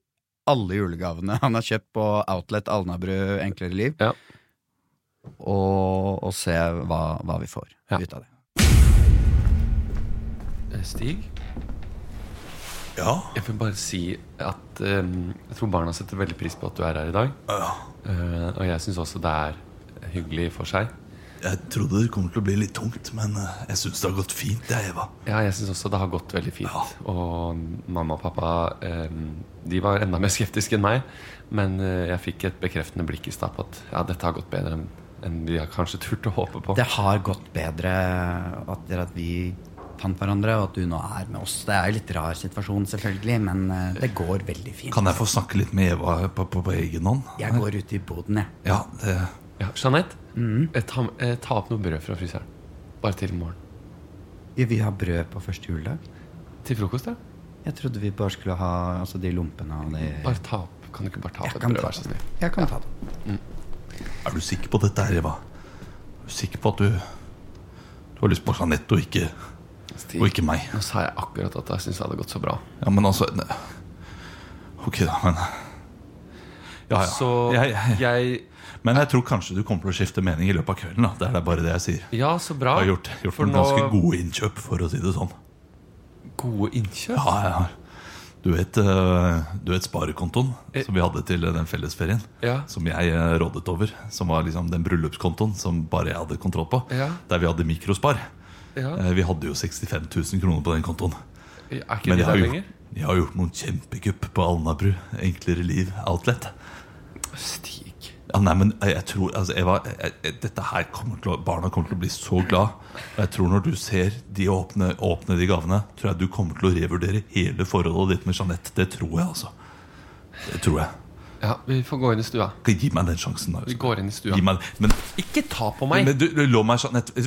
B: alle julegavene han har kjøpt på Outlet Alnabru Enklere liv,
C: Ja.
B: og, og se hva, hva vi får
C: Ja.
B: ut av det.
C: Eh, Stig,
A: Ja,
C: jeg vil bare si at eh, jeg tror barna setter veldig pris på at du er her i dag. Eh, og jeg syns også det er hyggelig for seg.
A: jeg trodde det kom til å bli litt tungt, men eh, jeg syns det har gått fint, det, Eva.
C: Ja, jeg syns også det har gått veldig fint. Og mamma og pappa eh, de var enda mer skeptiske enn meg. Men eh, jeg fikk et bekreftende blikk i stad på at ja, dette har gått bedre enn enn vi har kanskje turt å håpe på.
B: Det har gått bedre at, det at vi fant hverandre, og at du nå er med oss. Det er en litt rar situasjon, selvfølgelig, men eh, det går veldig fint.
A: Kan jeg få snakke litt med Eva på, på, på egen hånd?
B: Jeg går ut i boden, jeg.
A: Ja, det
C: Ja, Jeanette,
B: Mm.
C: eh, ta, eh, ta opp noe brød fra fryseren. Bare til i morgen.
B: Vi- Vi har brød på første juledag.
C: Til frokost, da?
B: Jeg trodde vi bare skulle ha altså, de lompene og de
C: Bare ta opp. Kan du ikke bare ta opp
B: Jeg
C: et
B: kan
C: brød,
B: ta
C: vær så snill?
B: Jeg kan ta det.
A: Er du sikker på dette her, Eva? Er du sikker på at du Du har lyst på Jeanette og ikke, og ikke meg?
C: Nå sa jeg akkurat at jeg syns det hadde gått så bra.
A: Ja, men altså ne- Ok, da, men Ja, ja.
C: Så
A: Jeg, jeg,
C: jeg
A: men jeg tror kanskje du kommer til å skifte mening i løpet av kvelden. da Det er da bare det jeg sier.
C: Ja, så bra.
A: Jeg har gjort, gjort
C: For
A: noen
C: nå-
A: ganske gode innkjøp, for å si det sånn.
C: Gode innkjøp.
A: Ja, jeg har. Du vet, eh, du vet sparekontoen
C: Eh.
A: som vi hadde til den fellesferien?
C: Ja.
A: Som jeg eh, rådet over. Som var liksom den bryllupskontoen som bare jeg hadde kontroll på.
C: Ja.
A: Der vi hadde mikrospar.
C: Ja.
A: Eh, Vi hadde jo 65 000 kroner på den kontoen.
C: Er ikke de
A: Eh, jeg har,
C: der lenger?
A: gjort, jeg har gjort noen kjempekupp på Alnabru. Enklere liv outlet.
C: Stig.
A: Ja, nei, men jeg tror altså, Eva, jeg, jeg, dette her kommer til å, Barna kommer til å bli så glad Og Jeg tror når du ser de åpne, åpne de gavene Tror jeg du kommer til å revurdere hele forholdet ditt med Jeanette Det tror jeg altså Det tror jeg
C: Ja, vi får gå inn i stua.
A: Ikke Gi meg den sjansen da altså?
C: Vi går inn i stua.
A: Gi meg Men,
C: Ikke ta på meg!
A: men du, du, lov meg Jeanette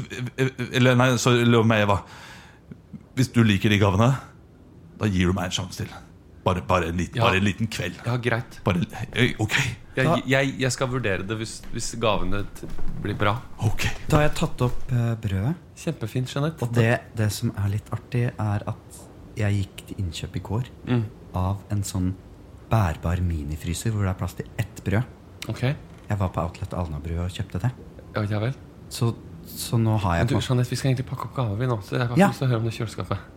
A: Eller nei, sorry, lov meg Eva Hvis du liker de gavene Da gir du meg en sjanse til Bare, bare, en, liten,
C: Ja.
A: bare en liten kveld
C: ja, greit.
A: bare, en- Ok,
C: Jeg, jeg, jeg skal vurdere det hvis, hvis gavene t- blir bra.
A: ok
B: Da har jeg tatt opp eh, brødet.
C: Kjempefint, Jeanette.
B: Og det, det som er litt artig, er at jeg gikk til innkjøp i går
C: Mm.
B: av en sånn bærbar minifryser hvor det er plass til ett brød.
C: Ok.
B: Jeg var på Outlet Alnabru og kjøpte det.
C: Ja, ja vel.
B: Så, så nå har jeg
C: Du,
B: på
C: Jeanette, vi skal egentlig pakke opp gaver, vi nå. Så jeg har ikke
B: Ja.
C: lyst til å høre om det kjøleskapet.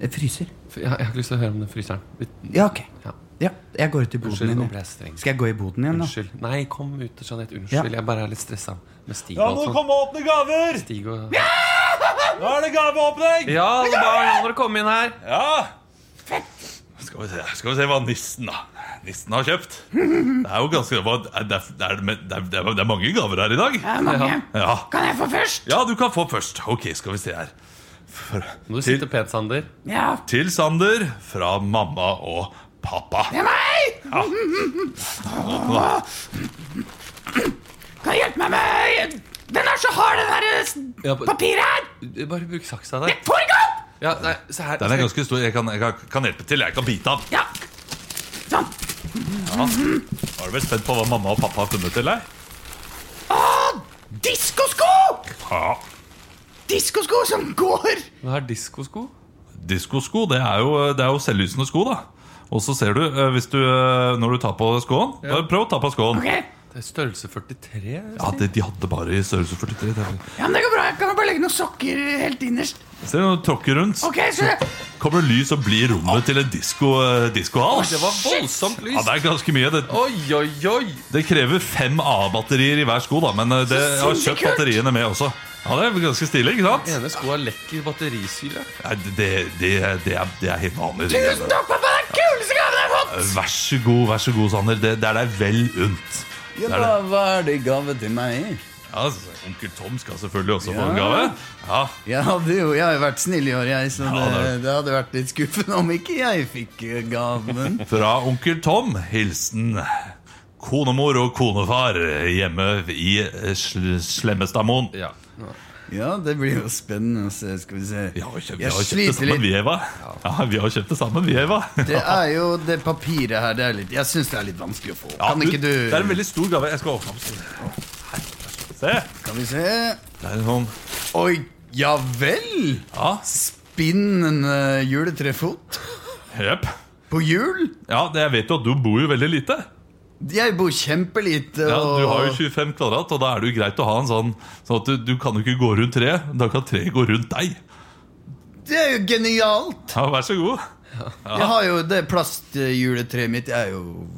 B: Jeg fryser.
C: For Jeg, jeg har ikke lyst til å høre om den fryseren. Vi-
B: Ja, ok.
C: Ja.
B: Ja, jeg går ut i boden
C: Unnskyld,
B: din.
C: nå ble
B: jeg.
C: jeg streng.
B: Skal jeg gå i boden igjen, da?
C: Unnskyld. Nei, kom ut, Jeanette. Unnskyld.
B: Ja.
C: Jeg bare er litt stressa med Stig
A: Ja,
C: og
A: nå
C: alt sånt.
A: kom og åpne gaver!
C: Stig og
A: Nå er det gaveåpning!
C: Ja, det er bare nå må dere komme inn her.
A: Ja! Skal vi, se, skal vi se hva nissen da Nissen har kjøpt. Det er jo ganske Det, er, det, er, det, er, det, er, det er mange gaver her i dag. Ja.
B: Kan jeg få først?
A: ja, du kan få først. Ok, skal vi se her. For,
C: Må du sitte pent, Sander.
B: Ja.
A: til Sander fra mamma og pappa.
B: Det er meg! Kan du hjelpe meg med Den er så hard, den her
C: Ja, ba-
B: papiret her!
C: bare bruk saksa der.
B: Får ikke opp!
C: Ja, nei, se her.
A: Den er ganske stor. Jeg kan, jeg kan- kan hjelpe til. Jeg kan bite av.
B: Ja. Sånn.
A: Var du vel spent på hva mamma og pappa har funnet til deg?
B: Diskosko!
A: Ja.
B: Diskosko som går.
C: Hva er diskosko?
A: Diskosko, det er jo, det er jo selvlysende sko, da. Og så ser du, eh, hvis du, eh, når du tar på skåen Bare prøv å ta på skåen.
B: Ok, ja,
C: Det er størrelse 43. Ja.
A: Ja, det, De hadde bare i størrelse 43. Det er-
B: men det går bra. Jeg kan bare legge noen sokker helt innerst.
A: Se, når du tråkker rundt,
B: Ok, så
A: kommer det lys og blir rommet til en disko, eh, diskohall.
C: Det var voldsomt
A: Ja,
C: lys.
A: det er ganske mye. Det,
C: Oi, oi, oi.
A: det krever fem A-batterier i hver sko, da, men eh, det, jeg har kjøpt
B: sinnssykt kult!
A: batteriene med også. Ja, Det er ganske stilig, ikke sant?
C: Den ene skoa lekker batterisyre.
A: Nei, Det, det, det, er, det er helt vanlig.
B: tusen takk, pappa. Det er den kuleste gaven jeg har fått.
A: Vær så god, vær så god, Sander. Det, det er deg vel unt. Det er det.
B: hva er det i gave til meg?
A: Ja, så Onkel Tom skal selvfølgelig også få en
B: Ja.
A: gave. Ja,
B: Jeg, hadde jo, jeg har jo vært snill i år, jeg, så
A: Ja, det-
B: det, det hadde vært litt skuffende om ikke jeg fikk eh, gaven.
A: Fra onkel Tom, hilsen konemor og konefar hjemme i eh, sl Slemmestadmoen.
C: Ja.
B: Ja, det blir jo spennende å se. Skal vi se.
A: Vi har jo kjøpt, vi
B: Jeg
A: har kjøpt det
B: sliter
A: sammen,
B: litt.
A: vi, Eva. Ja, vi har kjøpt det sammen, vi, Eva.
B: Det er jo det papiret her. Det er litt, jeg syns det er litt vanskelig å få.
A: Ja,
B: Kan ikke du
A: Det er en veldig stor gave. Jeg skal åpne opp. Her, Se!
B: Kan vi se.
A: Det er en sånn
B: Oi, ja vel!
A: Ja,
B: Spinn en eh, juletrefot
A: jøp.
B: på hjul.
A: Ja, det, jeg vet jo at du bor jo veldig lite.
B: Jeg bor kjempelite.
A: Ja,
B: og-
A: Du har jo 25 kvadrat, og da er det jo greit å ha en sånn Sånn at du, du kan jo ikke gå rundt treet. Da kan treet gå rundt deg.
B: Det er jo genialt!
A: Ja, Vær så god.
B: Jeg har jo det plastjuletreet mitt. Jeg er jo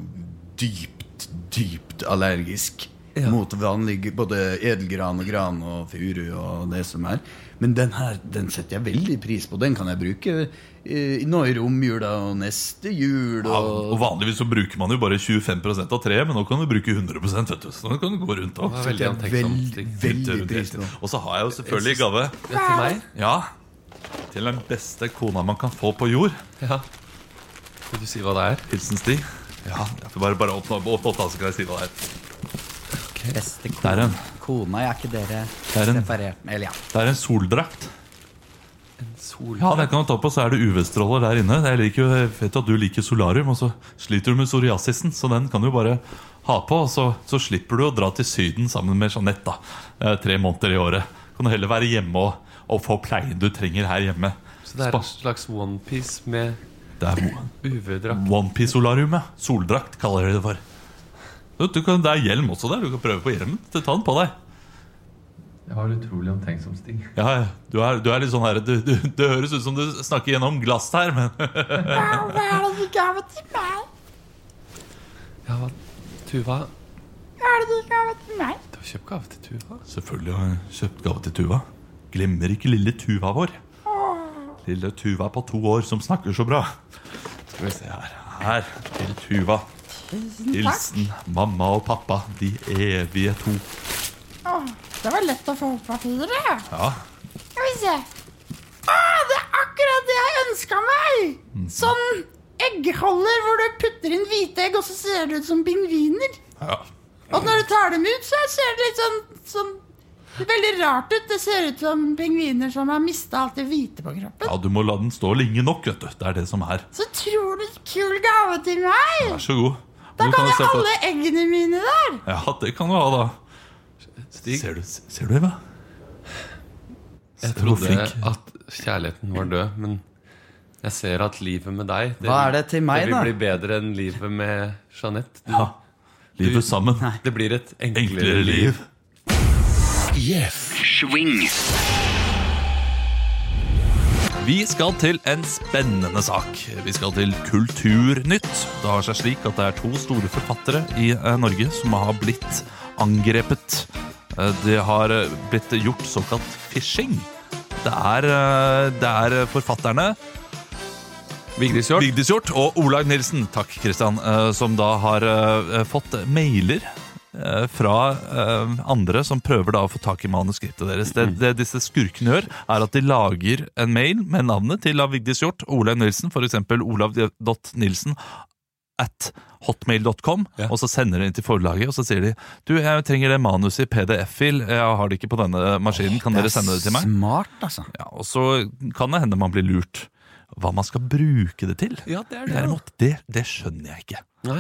B: dypt, dypt allergisk
C: Ja.
B: mot vanlig både edelgran og gran og furu og det som er. Men den her den setter jeg veldig pris på. Den kan jeg bruke eh, nå i romjula og neste jul.
A: Ja,
B: Og
A: og Vanligvis så bruker man jo bare 25 av treet, men nå kan du bruke 100 vet du. Så nå kan du gå rundt og
C: Det var veldig
B: setter jeg
C: antenksom.
B: veldig,
C: Stig.
B: veldig
A: rundt hele
B: pris på.
A: tiden. Og så har jeg jo selvfølgelig gave.
C: Det er til meg.
A: Ja, til den beste kona man kan få på jord.
C: Ja. Skal du si hva det er?
A: Hilsen Stig. Ja, jeg får bare, bare åpne opp, åpne opp, da, så kan jeg si hva det er.
B: Beste
A: Det er en,
B: kona, er ikke dere
A: det er en,
B: separert med? Eller ja.
A: det er en soldrakt.
C: En sol.
A: Ja, det kan du ta på, så er det UV-stråler der inne. Jeg, liker, jo- jeg vet jo at du liker solarium, og så sliter du med psoriasisen, så den kan du jo bare ha på. Og så, så slipper du å dra til Syden sammen med Jeanette da, eh, tre måneder i året. Kan du heller være hjemme og, og få pleien du trenger her hjemme.
C: Så det er en slags onepiece med
A: Det er
C: UV-drakt.
A: OnePiece-solarium, ja. Soldrakt kaller de det for. Du, du kan, det er hjelm også der. Du kan prøve på hjelmen. Ta den på deg.
C: Jeg var utrolig omtenksom, Stig.
A: Ja, ja. du, er, du er litt sånn her du, du, Det høres ut som du snakker gjennom glass her, men
D: Hva er det de gav til meg?
C: Ja, hva? Tuva.
D: Hva er det de gav til meg?
C: Du har kjøpt gave til Tuva?
A: Selvfølgelig har jeg kjøpt gave til Tuva. Glemmer ikke lille Tuva vår. Lille Tuva på to år som snakker så bra. Skal vi se her. Her til Tuva. Hilsen mamma og pappa, de evige to.
D: Åh, det var lett å få opp papiret.
A: Ja,
D: Skal vi se. Åh, det er akkurat det jeg ønsket meg!
A: Mm.
D: Sånn eggholder hvor du putter inn hvite egg, og så ser det ut som pingviner.
A: ja.
D: Og når du tar dem ut, så ser det litt sånn, sånn veldig rart ut. Det ser ut som pingviner som har mistet alt det hvite på kroppen.
A: ja du må la den stå lenge nok, vet du. Det er det som er.
D: Så utrolig kul gave til meg!
A: Vær så god.
D: Da
A: Du
D: kan
A: jo
D: jeg
A: se på-
D: alle eggene mine der.
A: Ja, det kan du ha, da.
C: Stig,
A: Ser du, ser du Eva?
C: jeg
A: du hvor
C: trodde
A: flink-
C: at kjærligheten var død, men jeg ser at livet med deg det,
B: Hva er det til meg,
C: det
B: da?
C: vil bli bedre enn livet med Jeanette. Du,
A: Ja. Livet sammen.
C: Det blir et enklere,
A: Enklere liv.
C: liv.
E: Yes. Swing.
A: Vi skal til en spennende sak. Vi skal til Kulturnytt. Det har seg slik at det er to store forfattere i eh, Norge som har blitt angrepet. Eh, Det har eh, blitt gjort såkalt phishing. Det er, eh, det er forfatterne
C: Vigdis Hjorth.
A: Vigdis Hjorth og Olaug Nilsen, takk Kristian, eh, som da har eh, fått mailer eh, fra eh, andre som prøver da å få tak i manuskriptet deres.
C: Mm.
A: Det, det disse skurkene gjør, er at de lager en mail med navnet til av Vigdis Hjorth og Olaug Nilsen, for eksempel olav.nilsen at hotmail.com,
C: Ja.
A: og så sender de inn til forlaget, og så sier de du, jeg trenger det manuset i PDF-fil, jeg har det ikke på denne maskinen, kan dere sende det til meg?
B: Smart, altså.
A: Ja, og så kan det hende man blir lurt. Hva man skal bruke det til?
C: Ja, det er det.
A: Derimot, det, det skjønner jeg ikke.
C: Nei.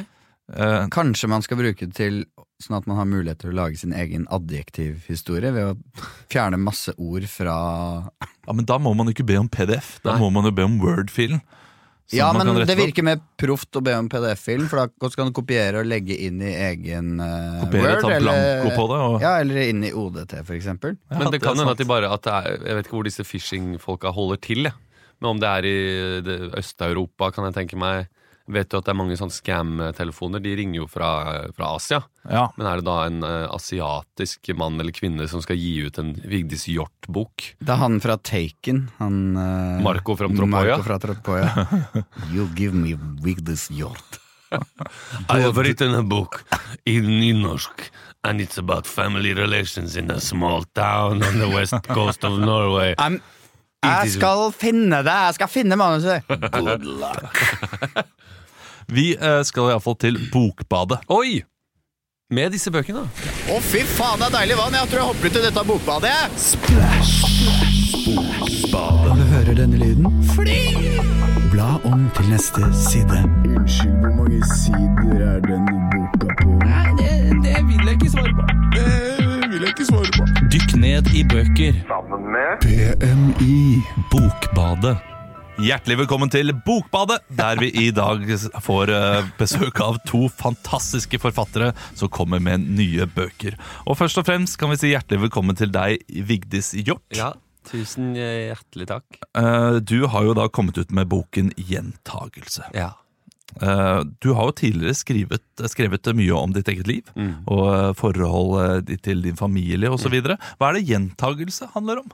A: Eh,
B: Kanskje man skal bruke det til sånn at man har mulighet til å lage sin egen adjektivhistorie ved å fjerne masse ord fra
A: ja, men da må man jo ikke be om PDF, da
C: Nei.
A: må man jo be om Word-filen. Sånn
B: Ja,
A: at man
B: men
A: kan rette
B: det
A: opp.
B: virker mer proft å be om PDF-film, for da kan du kopiere og legge inn i egen eh,
A: Kopiere,
B: Word.
A: ta blanko på det. Og,
B: Ja, eller inn i ODT, for eksempel.
A: Ja,
C: Men det
A: er
C: kan hende
A: sant.
C: at de bare at det er, Jeg vet ikke hvor disse phishing-folka holder til. jeg. Men om det er i det- Øst-Europa, kan jeg tenke meg. Vet du at det er mange sånne scam-telefoner? De ringer jo fra, fra Asia.
A: ja.
C: Men er det da en eh, asiatisk mann eller kvinne som skal gi ut en Vigdis Hjorth-bok?
B: Det er han fra Taken. Han, eh,
C: Marco fra Tropøya.
B: Marco fra Tropøya.
A: [laughs]
B: you give me Vigdis Hjort.
F: I have written a book in Nynorsk, and it's about family relations in a small town on the west coast of Norway.
B: Jeg skal finne deg! Jeg skal finne
A: [laughs]
B: manuset!
A: Vi eh, skal iallfall til Bokbadet.
C: Oi! Med disse bøkene, da.
B: Å, fy faen, det er deilig vann! Jeg tror jeg hopper ut i dette bokbadet, jeg!
G: Dykk ned i bøker. PMI. Bokbadet.
A: Hjertelig velkommen til Bokbadet, der vi i dag får eh, besøk av to fantastiske forfattere som kommer med nye bøker. Og først og fremst kan vi si hjertelig velkommen til deg, Vigdis Hjort.
C: Tusen hjertelig takk.
A: Eh, Du har jo da kommet ut med boken Gjentagelse.
C: Ja.
A: Eh, Du har jo tidligere skrevet, skrevet mye om ditt eget liv og eh, forholdet ditt til din familie osv. Hva er det gjentagelse handler om?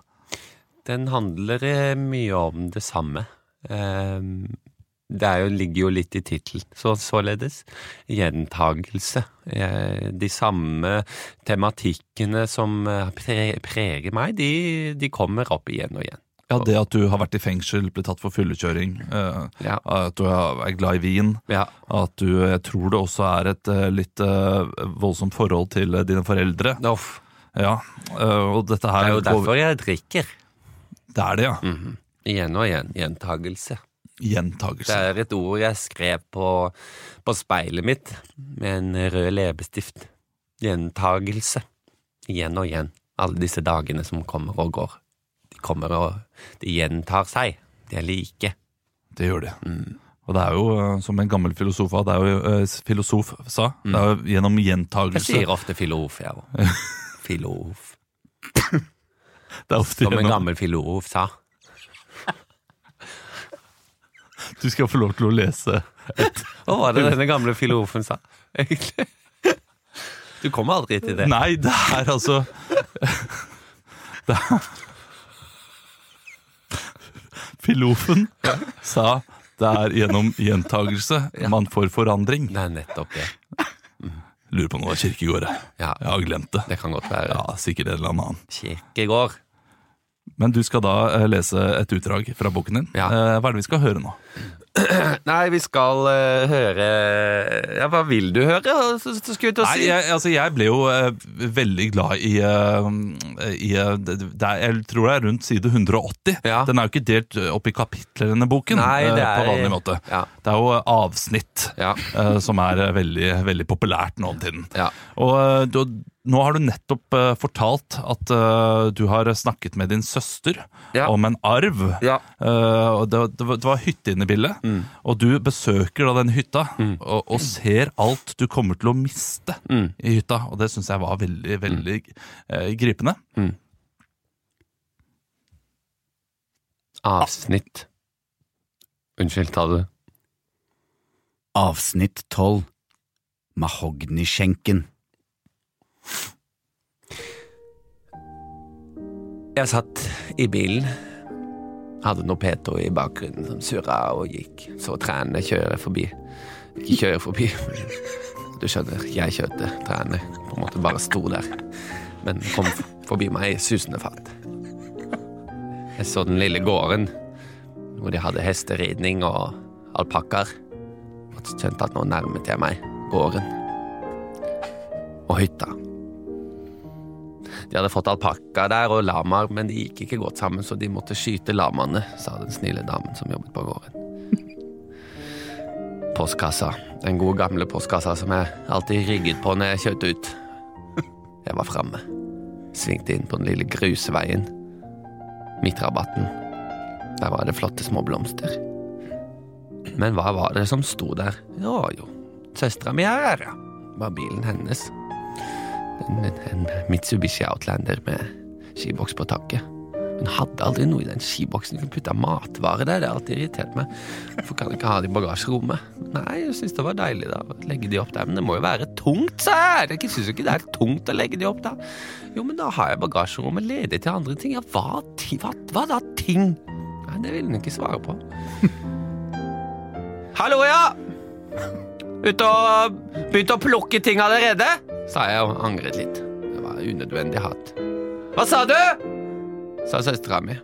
C: Den handler eh, mye om det samme. Ehm, Det er jo, ligger jo litt i tittelen, så, således. Gjentagelse. Eh, De samme tematikkene som eh, pre- preger meg, de, de kommer opp igjen og igjen.
A: Ja, Det at du har vært i fengsel, blitt tatt for fullekjøring, eh,
C: Ja.
A: at du er glad i vin,
C: Ja.
A: at du jeg tror det også er et eh, litt eh, voldsomt forhold til eh, dine foreldre.
C: Uff.
A: Ja, eh, og dette
C: Det
A: her
C: er jo derfor Mm. jeg drikker.
A: Det er det, ja.
C: Igjen og igjen. Gjentagelse. Det
A: Gjentagelse.
C: er et ord jeg skrev på, på speilet mitt med en rød leppestift. Gjentagelse. Igjen og igjen. Alle disse dagene som kommer og går. De kommer og De gjentar seg. De er like.
A: Det gjør de.
C: Mm.
A: Og det er jo, eh, som en gammel filosof, det er jo, eh, filosof sa, det er jo gjennom
C: Mm. Jeg
A: gjentagelse
C: sier ofte filof,
A: [laughs]
C: jeg òg. Filof.
A: Det er ofte
C: Som en
A: gjennom,
C: gammel filof sa.
A: Du skal få lov til å lese.
C: Hva var det denne gamle filofen sa, egentlig?
A: [laughs]
C: Du kommer aldri til det.
A: Nei, det er altså det er, Filofen sa det er gjennom gjentagelse man får forandring.
C: Det er nettopp det.
A: Lurer på om det var Kirkegård. jeg.
C: Ja,
A: Jeg har glemt det.
C: det kan godt være.
A: Ja, sikkert en eller annen.
C: Kirkegård.
A: Men du skal da eh, lese et utdrag fra boken din.
C: Ja.
A: Eh, Hva er det vi skal høre nå?
C: Nei, vi skal eh, høre Ja, hva vil du høre? Så, så skulle jeg til å
A: Nei,
C: si
A: jeg, altså jeg ble jo eh, veldig glad i, eh, i eh, det, det er, Jeg tror det er rundt side 180.
C: Ja.
A: Den er jo ikke delt eh, opp i kapitler, denne boken,
C: Nei, det
A: eh, på
C: er-
A: vanlig måte.
C: Ja.
A: Det er jo eh, avsnitt
C: Ja.
A: eh, som er eh, veldig, veldig populært nå om tiden.
C: Ja.
A: Og eh, du, nå har du nettopp eh, fortalt at eh, du har snakket med din søster
C: Ja.
A: om en arv.
C: Ja.
A: Eh, og det, det, var- det var hytte inne i bildet, og du besøker da den hytta og, og ser alt du kommer til å miste i hytta. Og det syns jeg var veldig, veldig eh, gripende.
C: Avsnitt. Unnskyld, ta det.
B: Avsnitt 12 Mahogniskjenken
C: Jeg satt i bilen. Hadde noe Peto i bakgrunnen som surra og gikk. Så trærne kjører forbi. Ikke kjører forbi, men du skjønner, jeg kjørte trærne. På en måte bare sto der. Men kom forbi meg i susende fart. Jeg så den lille gården hvor de hadde hesteridning og alpakkaer. Og skjønte at nå nærmet jeg meg gården. Og hytta. De hadde fått alpakka der og lamaer, men de gikk ikke godt sammen, så de måtte skyte lamaene, sa den snille damen som jobbet på gården. Postkassa. Den gode gamle postkassa som jeg alltid rygget på når jeg kjørte ut. Jeg var framme. Svingte inn på den lille grusveien. Midtrabatten. Der var det flotte små blomster. Men hva var det som sto der? Ja jo, søstera mi er her, ja. Var bilen hennes en, en Mitsubishi Outlander med skiboks på taket. Hun hadde aldri noe i den skiboksen. Hun kunne putta matvarer der. Det har alltid irritert meg. Hvorfor kan jeg ikke ha det i bagasjerommet? Nei, jeg syns det var deilig, da. å Legge de opp der. Men det må jo være tungt, sa jeg. Jeg syns jo ikke det er tungt å legge de opp der. Jo, men da har jeg bagasjerommet ledig til andre ting. Ja, hva, ti- hva, hva da ting? Nei, det ville hun ikke svare på. Hallo, ja! Ute og begynte å plukke ting allerede? Sa jeg og angret litt. Det var unødvendig hat. Hva sa du? Sa søstera mi.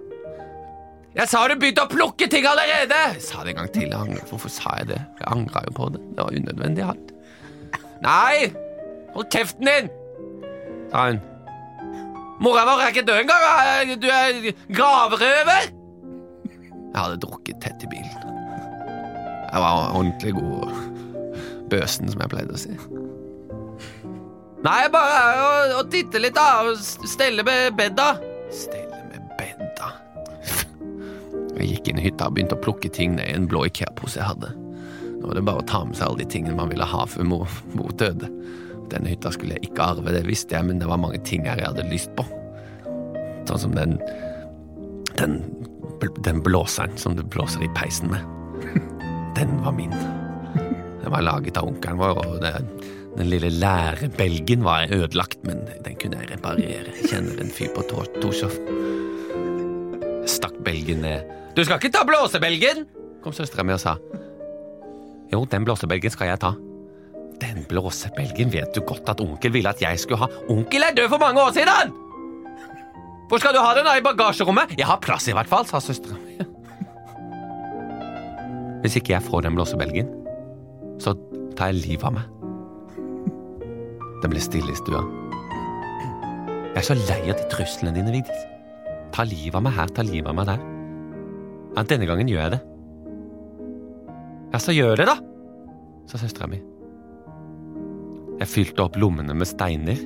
C: Jeg sa du begynte å plukke ting allerede! Jeg sa det en gang til. Jeg angret. Hvorfor sa jeg det? Jeg angra jo på det. Det var unødvendig hat. Nei! Hold kjeften din! Sa hun. Mora vår er ikke død engang! Du er gravrøver! Jeg hadde drukket tett i bilen. Jeg var ordentlig god bøsen, som jeg pleide å si. Nei, bare å, å titte litt, da. og s- Stelle med bedda. Stelle med bedda. Jeg gikk inn i hytta og begynte å plukke ting ned i en blå Ikea-pose jeg hadde. Nå var det bare å ta med seg alle de tingene man ville ha før mor, mor døde. Denne hytta skulle jeg ikke arve, det visste jeg, men det var mange ting her jeg hadde lyst på. Sånn som den den, bl- den blåseren som du blåser i peisen med. Den var min. Den var laget av onkelen vår, og det, den lille lærebelgen var ødelagt, men den kunne jeg reparere. Jeg Kjenner en fyr på Tor- Torshov. Jeg Stakk belgen ned. Du skal ikke ta blåsebelgen! kom søstera mi og sa. Jo, den blåsebelgen skal jeg ta. Den blåsebelgen vet du godt at onkel ville at jeg skulle ha. Onkel er død for mange år siden! Hvor skal du ha den? da? I bagasjerommet? Jeg har plass i hvert fall, sa søstera mi. Hvis ikke jeg får den blåsebelgen, så tar jeg livet av meg. Det ble stille i stua. Jeg er så lei av de truslene dine, Vigdis. Ta livet av meg her, ta livet av meg der. Ja, denne gangen gjør jeg det. Ja, så gjør det, da, sa søstera mi. Jeg fylte opp lommene med steiner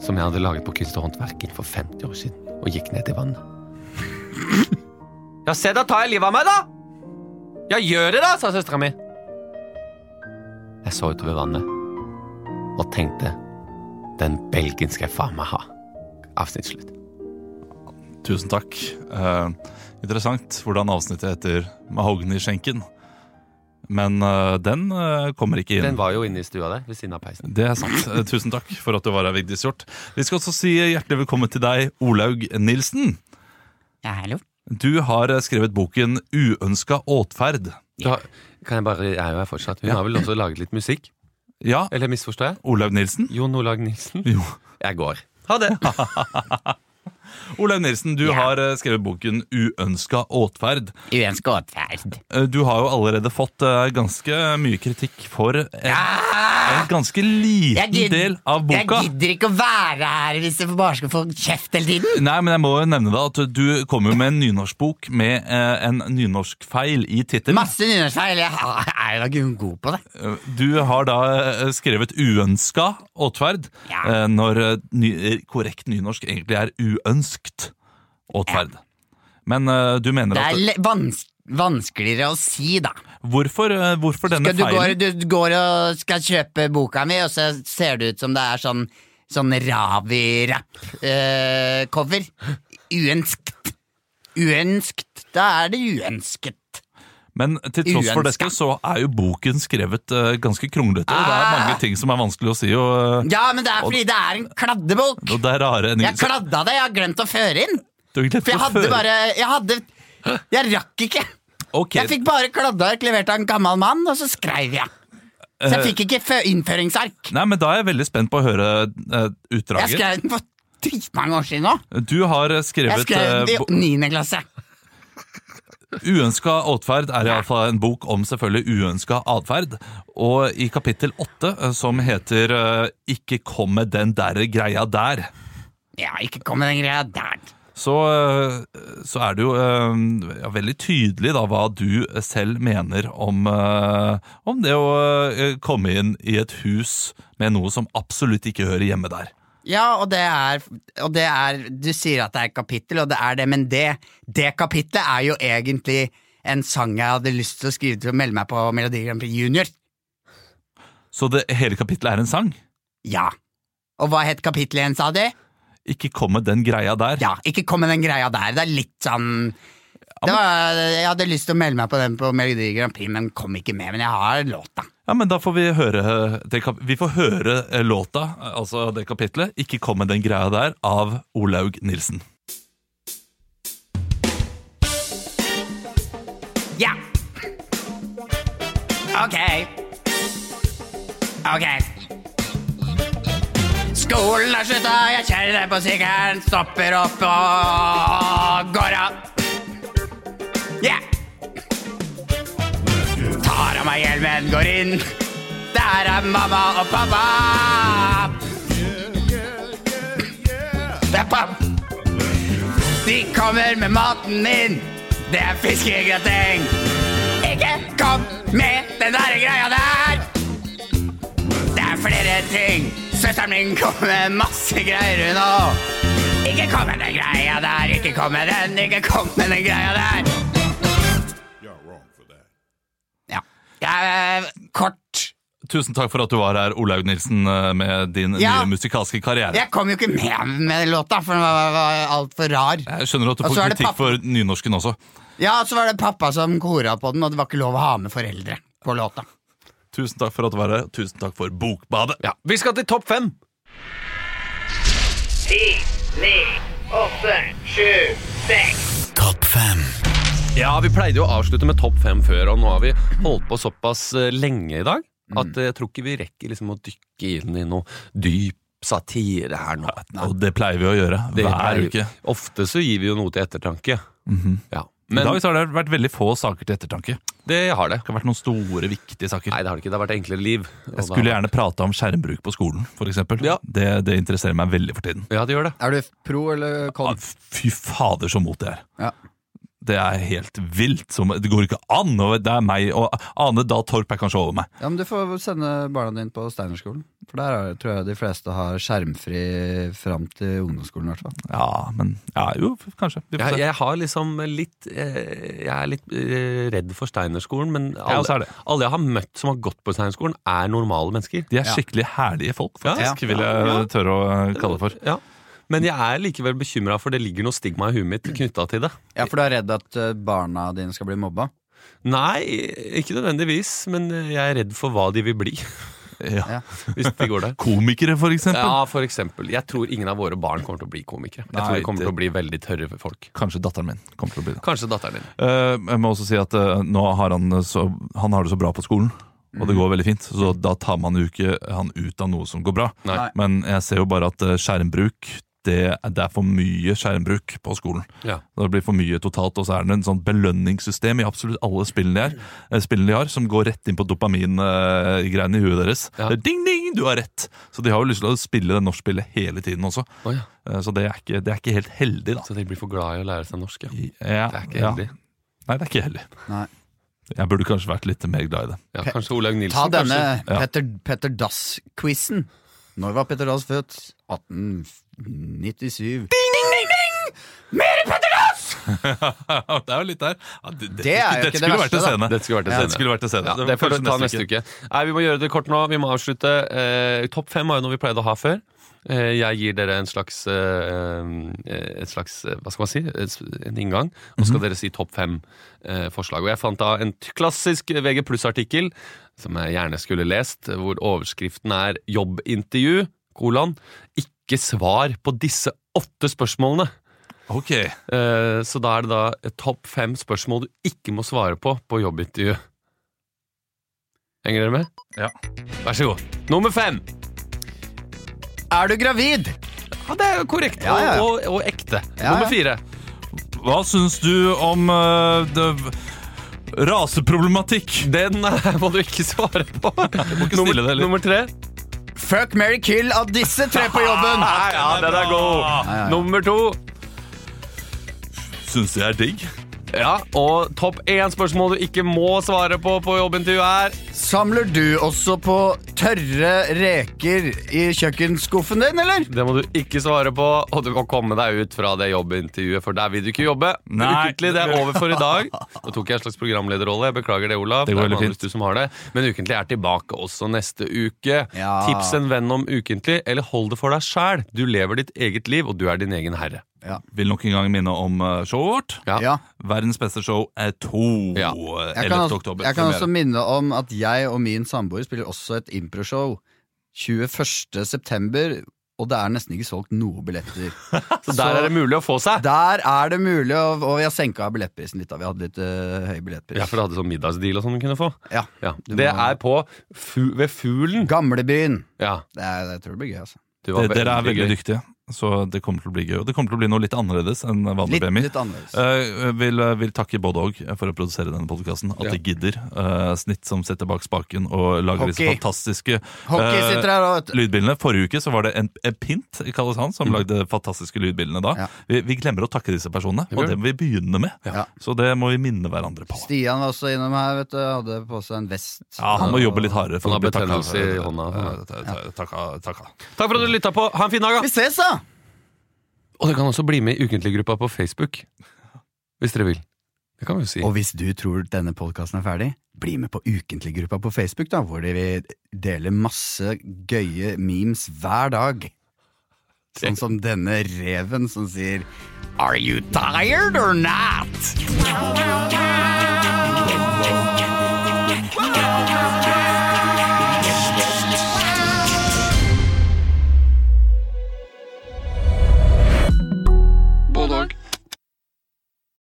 C: som jeg hadde laget på kunst og håndverk for 50 år siden, og gikk ned i vannet. Ja, se, da tar jeg livet av meg, da! Ja, gjør det da, sa søstera mi. Jeg så utover vannet og tenkte den belgen skal jeg faen meg ha. Avsnitt slutt.
A: Tusen takk. Eh, interessant hvordan avsnittet heter Mahogniskjenken. Men eh, den eh, kommer ikke inn.
C: Den var jo inne i stua der, ved siden av peisen.
A: Det er sant. Eh, Tusen takk for at du var her, Vigdis Hjort. Vi skal også si hjertelig velkommen til deg, Olaug Nilsen.
D: Ja, hallo.
A: Du har eh, skrevet boken Uønska åtferd.
C: Da, kan jeg bare, jeg er jo her fortsatt. Hun har vel også laget litt musikk?
A: Ja,
C: Eller misforstår jeg?
A: Olaug Nilsen.
C: Jon Olav Nilsen?
A: Jo.
C: Jeg går. Ha
A: [laughs]
C: det!
A: Olaug Nilsen, du har eh, skrevet boken Uønska åtferd.
D: Uønska atferd.
A: Eh, Du har jo allerede fått eh, ganske mye kritikk for en, en ganske liten
D: Jeg gid-
A: del av boka.
D: Jeg gidder ikke å være her hvis jeg bare skal få kjeft hele tiden.
A: Nei, men jeg må jo nevne da at du kom jo med en nynorskbok med eh, en nynorskfeil i tittelen.
D: Masse nynorskfeil. Jeg har- er jo da ikke god på det.
A: Eh, Du har da eh, skrevet uønska åtferd,
D: Ja.
A: eh, når eh, ny, eh, korrekt nynorsk egentlig er uønskt åtferd. Men eh, du mener
D: Det
A: at
D: er le- vans vanskeligere å si, da.
A: Hvorfor, eh, hvorfor denne
D: Skal du, går,
A: feilen?
D: du går og skal kjøpe boka mi, og så ser det ut som det er sånn, sånn Ravi-rapp-cover. Uønskt.
B: uønskt, da er det uønsket.
A: Men til tross for
B: Uønska.
A: dette så er jo boken skrevet eh, ganske kronglete. og Det er
B: Ah!
A: mange ting som er vanskelig å si, og, eh,
B: Ja, men det er fordi det er en kladdebok.
A: og det er rare
B: Jeg kladda det, jeg har glemt å føre inn.
A: Du glemte
B: For jeg
A: å
B: hadde
A: føre-
B: bare Jeg hadde Jeg rakk ikke.
A: Ok,
B: Jeg fikk bare kladdeark levert av en gammel mann, og så skreiv jeg. Så jeg fikk ikke fø- innføringsark.
A: Eh, Nei, men Da er jeg veldig spent på å høre eh,
B: Jeg
A: utdraget.
B: skrev den for dritmange år siden òg.
A: Du har
B: Jeg
A: skrevet
B: skrev den
A: eh,
B: i
A: bo-
B: niende klasse.
A: Uønska atferd er iallfall en bok om selvfølgelig uønska atferd. Og i kapittel åtte, eh, som heter eh, Ikke kom med den derre greia der,
B: Ja, ikke kom med den greia der.
A: så, eh, så er det jo eh, ja, veldig tydelig da hva du selv mener om, eh, om det å eh, komme inn i et hus med noe som absolutt ikke hører hjemme der.
B: Ja, og det er, og det er Du sier at det er et kapittel, og det er det, men det, det kapittelet er jo egentlig en sang jeg hadde lyst til å skrive til å melde meg på Melodi Grand Prix Junior.
A: Så det, hele kapittelet er en sang?
B: Ja. Og hva het kapittelet igjen, sa du?
A: Ikke kom med den greia der.
B: Ja, ikke kom med den greia der. Det er litt sånn det var, Jeg hadde lyst til å melde meg på den på Melodi Grand Prix, men kom ikke med. Men jeg har låta.
A: Ja, men da får vi høre eh, det, kap- Vi får høre eh, låta, eh, altså det kapitlet, 'Ikke kom med den greia der', av Olaug Nilsen.
B: Ja. Ok. Ok. Skolen har slutta, jeg kjenner på sykkelen, stopper opp og går av. Ja. Tar av meg hjelmen, går inn. Der er mamma og pappa. Det er pappa. De kommer med maten min. Det er fiskegrateng. Ikke kom med den der greia der! Det er flere ting. Søsteren min kommer med masse greier, hun òg. Ikke kom med den greia der, ikke kom med den, ikke kom med den greia der. Ja. Jeg, eh, kort.
A: Tusen takk for at du var her, Olaug Nilsen, eh, med din
B: Ja.
A: nye musikalske karriere.
B: Jeg kom jo ikke med med den låta, for den var, var altfor rar.
A: Jeg skjønner at du
B: Og så
A: får
B: er det
A: kritikk
B: pappa-
A: for nynorsken også.
B: Ja, så var det pappa som kora på den, og det var ikke lov å ha med foreldre på låta.
A: Tusen takk for at du var her. Tusen takk for Bokbadet.
C: Ja, Vi skal til topp fem! Ja, Vi pleide jo å avslutte med topp fem før, og nå har vi holdt på såpass eh, lenge i dag at eh, jeg tror ikke vi rekker liksom å dykke inn i noe dyp satire her nå.
A: Og det pleier vi å gjøre
C: Det
A: hver
C: pleier-
A: uke.
C: Ofte så gir vi jo noe til ettertanke. ja.
A: Men, I
C: Mhm. Men
A: dag så har det vært veldig få saker til ettertanke. Det
C: det har det.
A: har vært noen store, viktige saker.
C: Nei, det har det ikke. Det har vært enklere liv. Og da-
A: Jeg skulle gjerne prate om skjermbruk på skolen, f.eks.
C: Ja.
A: Det, det interesserer meg veldig for tiden.
C: Ja, det gjør det.
B: Er du pro eller
A: Ah, Fy fader, så mot det er.
B: Ja.
A: Det er helt vilt. Som, det går ikke an! Og det er meg, og Ane Dahl Torp er kanskje over meg.
B: Ja, men Du får sende barna dine på Steinerskolen. For der er, tror jeg de fleste har skjermfri fram til ungdomsskolen. i hvert fall.
A: Ja, men ja, Jo, kanskje. Vi får
C: Jeg,
A: se.
C: jeg har liksom litt eh, Jeg er litt eh, redd for Steinerskolen, men alle,
A: også er det.
C: alle jeg har møtt som har gått på Steinerskolen, er normale mennesker.
A: De er skikkelig herlige folk, faktisk, vil jeg tørre å kalle det for.
C: Ja. Men jeg er likevel bekymra, for det ligger noe stigma i huet mitt knytta til det.
B: Ja, For du er redd at eh, barna dine skal bli mobba?
C: Nei, ikke nødvendigvis, men jeg er redd for hva de vil bli
A: Ja.
B: Ja.
C: hvis de
A: [laughs]
C: går der.
A: Komikere, for eksempel.
C: Ja, for eksempel. Jeg tror ingen av våre barn kommer til å bli komikere. Jeg tror
A: Nei,
C: de kommer
A: det-
C: til å bli veldig tørre folk.
A: Kanskje datteren min kommer til å bli det.
C: Kanskje datteren din.
A: Eh, jeg må også si at eh, nå har han, eh, så, han har det så bra på skolen, og
C: Mhm.
A: det går veldig fint. Så da tar man jo ikke han ut av noe som går bra.
C: Nei.
A: Men jeg ser jo bare at eh, skjermbruk det, det er for mye skjermbruk på skolen.
C: Ja.
A: Det blir for mye totalt, og så er det en sånn belønningssystem i absolutt alle spillene de, er, eh, spillene de har, som går rett inn på dopamingreiene i huet deres.
C: Ja.
A: Det er ding, ding, du har rett! Så de har jo lyst til å spille det norskspillet hele tiden også.
C: Å ja.
A: Eh, Så det er ikke, det er ikke helt heldig, da.
C: Så de blir for glad i å lære seg norsk, ja.
A: Ja,
C: Det er ikke
A: ja.
C: heldig.
A: Nei, det er ikke heldig.
B: Nei.
A: Jeg burde kanskje vært litt mer glad i det. [laughs]
C: Ja, kanskje Olaug Nilsen.
B: Ta denne
C: kanskje.
A: Ja.
B: Petter, Petter Dass-quizen. Når var Petter Dass født? 1897.
A: det er jo litt der. Ja, det,
B: Det er jo
A: dette
B: ikke det
A: skulle
B: verste,
A: vært en
B: da.
A: scene.
C: Dette skulle vært en
A: Ja,
C: scene.
A: dette skulle vært en scene.
C: Ja,
A: var
C: det får du
A: kanskje
C: ta neste uke. Nei, Vi må gjøre det kort nå. Vi må avslutte. Eh, topp fem var jo noe vi pleide å ha før. Eh, Jeg gir dere en slags, eh, eh, et slags eh, Hva skal man si? Et s- En inngang. Og så skal dere si topp fem eh, forslag. Og jeg fant da en t- klassisk VG pluss-artikkel som jeg gjerne skulle lest, hvor overskriften er 'Jobbintervju', kolon, ikke svar på disse åtte spørsmålene.
A: Ok.
C: Eh, Så da er det da et topp fem spørsmål du ikke må svare på på jobbintervju. Henger dere med?
A: Ja.
C: Vær så god. Nummer fem!
H: Er du gravid?
C: Ja, det er jo korrekt
H: Ja, ja, ja.
C: Og, og, og ekte.
H: Ja,
C: Nummer
H: ja.
C: fire.
A: Hva syns du om eh, det, raseproblematikk?
C: Den eh, [laughs] må du ikke svare på. nummer,
A: stille det, eller?
C: nummer tre.
H: Fuck, Mary kill av disse tre på
C: [laughs]
H: jobben!
C: Nei, [laughs] ja, den er god. Nummer to.
A: Syns jeg er digg.
C: Ja, og topp én spørsmål du ikke må svare på på jobbintervju er
H: Samler du også på tørre reker i kjøkkenskuffen din, eller?
C: Det må du ikke svare på, og du må komme deg ut fra det jobbintervjuet, for der vil du ikke jobbe.
A: Nei.
C: Ukentlig, det er over for i dag. Nå tok jeg en slags programlederrolle, jeg beklager det, Olav.
A: Det går
C: er
A: veldig
C: Magnus
A: fint.
C: Du som har det. Men Ukentlig er tilbake også neste uke.
H: Ja.
C: Tips en venn om Ukentlig, eller hold det for deg sjæl. Du lever ditt eget liv, og du er din egen herre.
A: Vil nok en gang minne om eh, showet vårt.
H: Ja.
A: Verdens beste show er 2.
C: Ja.
A: 11.
H: Jeg kan, også,
A: oktober.
H: jeg kan også
A: Premiere.
H: minne om at jeg og min samboer spiller også et improshow 21. september, og det er nesten ikke solgt noe
A: [laughs]
H: billetter.
C: Så der er det mulig å få seg.
H: Der er det mulig, og, og vi har senka billettprisen litt. da Vi hadde litt øh, høy
C: Ja,
H: billettpris.
C: for du hadde sånn middagsdeal og sånn du kunne få.
H: Ja.
C: Ja.
H: Du
C: Det
H: må-
C: er på fu ved Fuglen.
H: Gamlebyen.
C: Ja,
H: Det er, jeg tror det blir gøy, altså.
C: du var
A: Det- Dere er veldig
C: gøy.
A: dyktige, så det kommer til å bli gøy. Og det kommer til å bli noe litt annerledes enn vanlig
H: Litt,
A: BMI.
H: litt annerledes.
A: Eh, vil, vil takke både og for å produsere denne podkasten. At
C: Ja.
A: de gidder. Eh, snitt som setter bak spaken og lager disse
H: Hockey.
A: fantastiske
H: Hockey
A: eh,
H: sitter her og vet du.
A: lydbildene. Forrige uke så var det en, en Pint i Kalesand som lagde de fantastiske lydbildene da.
H: Ja.
A: Vi, vi glemmer å takke disse personene,
C: Vi gjør
A: og det må vi begynne med.
H: Ja.
A: Så det må vi minne hverandre på.
H: Stian var også innom her, vet du. Hadde på seg en vest.
A: Ja, Han må
H: Og-
A: jobbe litt hardere.
C: Han
A: å
C: har
A: bli takket.
C: betennelse i hånda.
A: Ja, ta- ta- takka- takka.
C: Takk for at du lytta på. Ha en fin dag, da!
H: Vi ses, da!
C: Og dere kan også bli med i ukentlig-gruppa på Facebook. Hvis dere vil. Det kan vi jo si.
H: Og hvis du tror denne podkasten er ferdig, bli med på ukentlig-gruppa på Facebook, da, hvor vi deler masse gøye memes hver dag. Sånn som denne reven som sier Are you tired or not?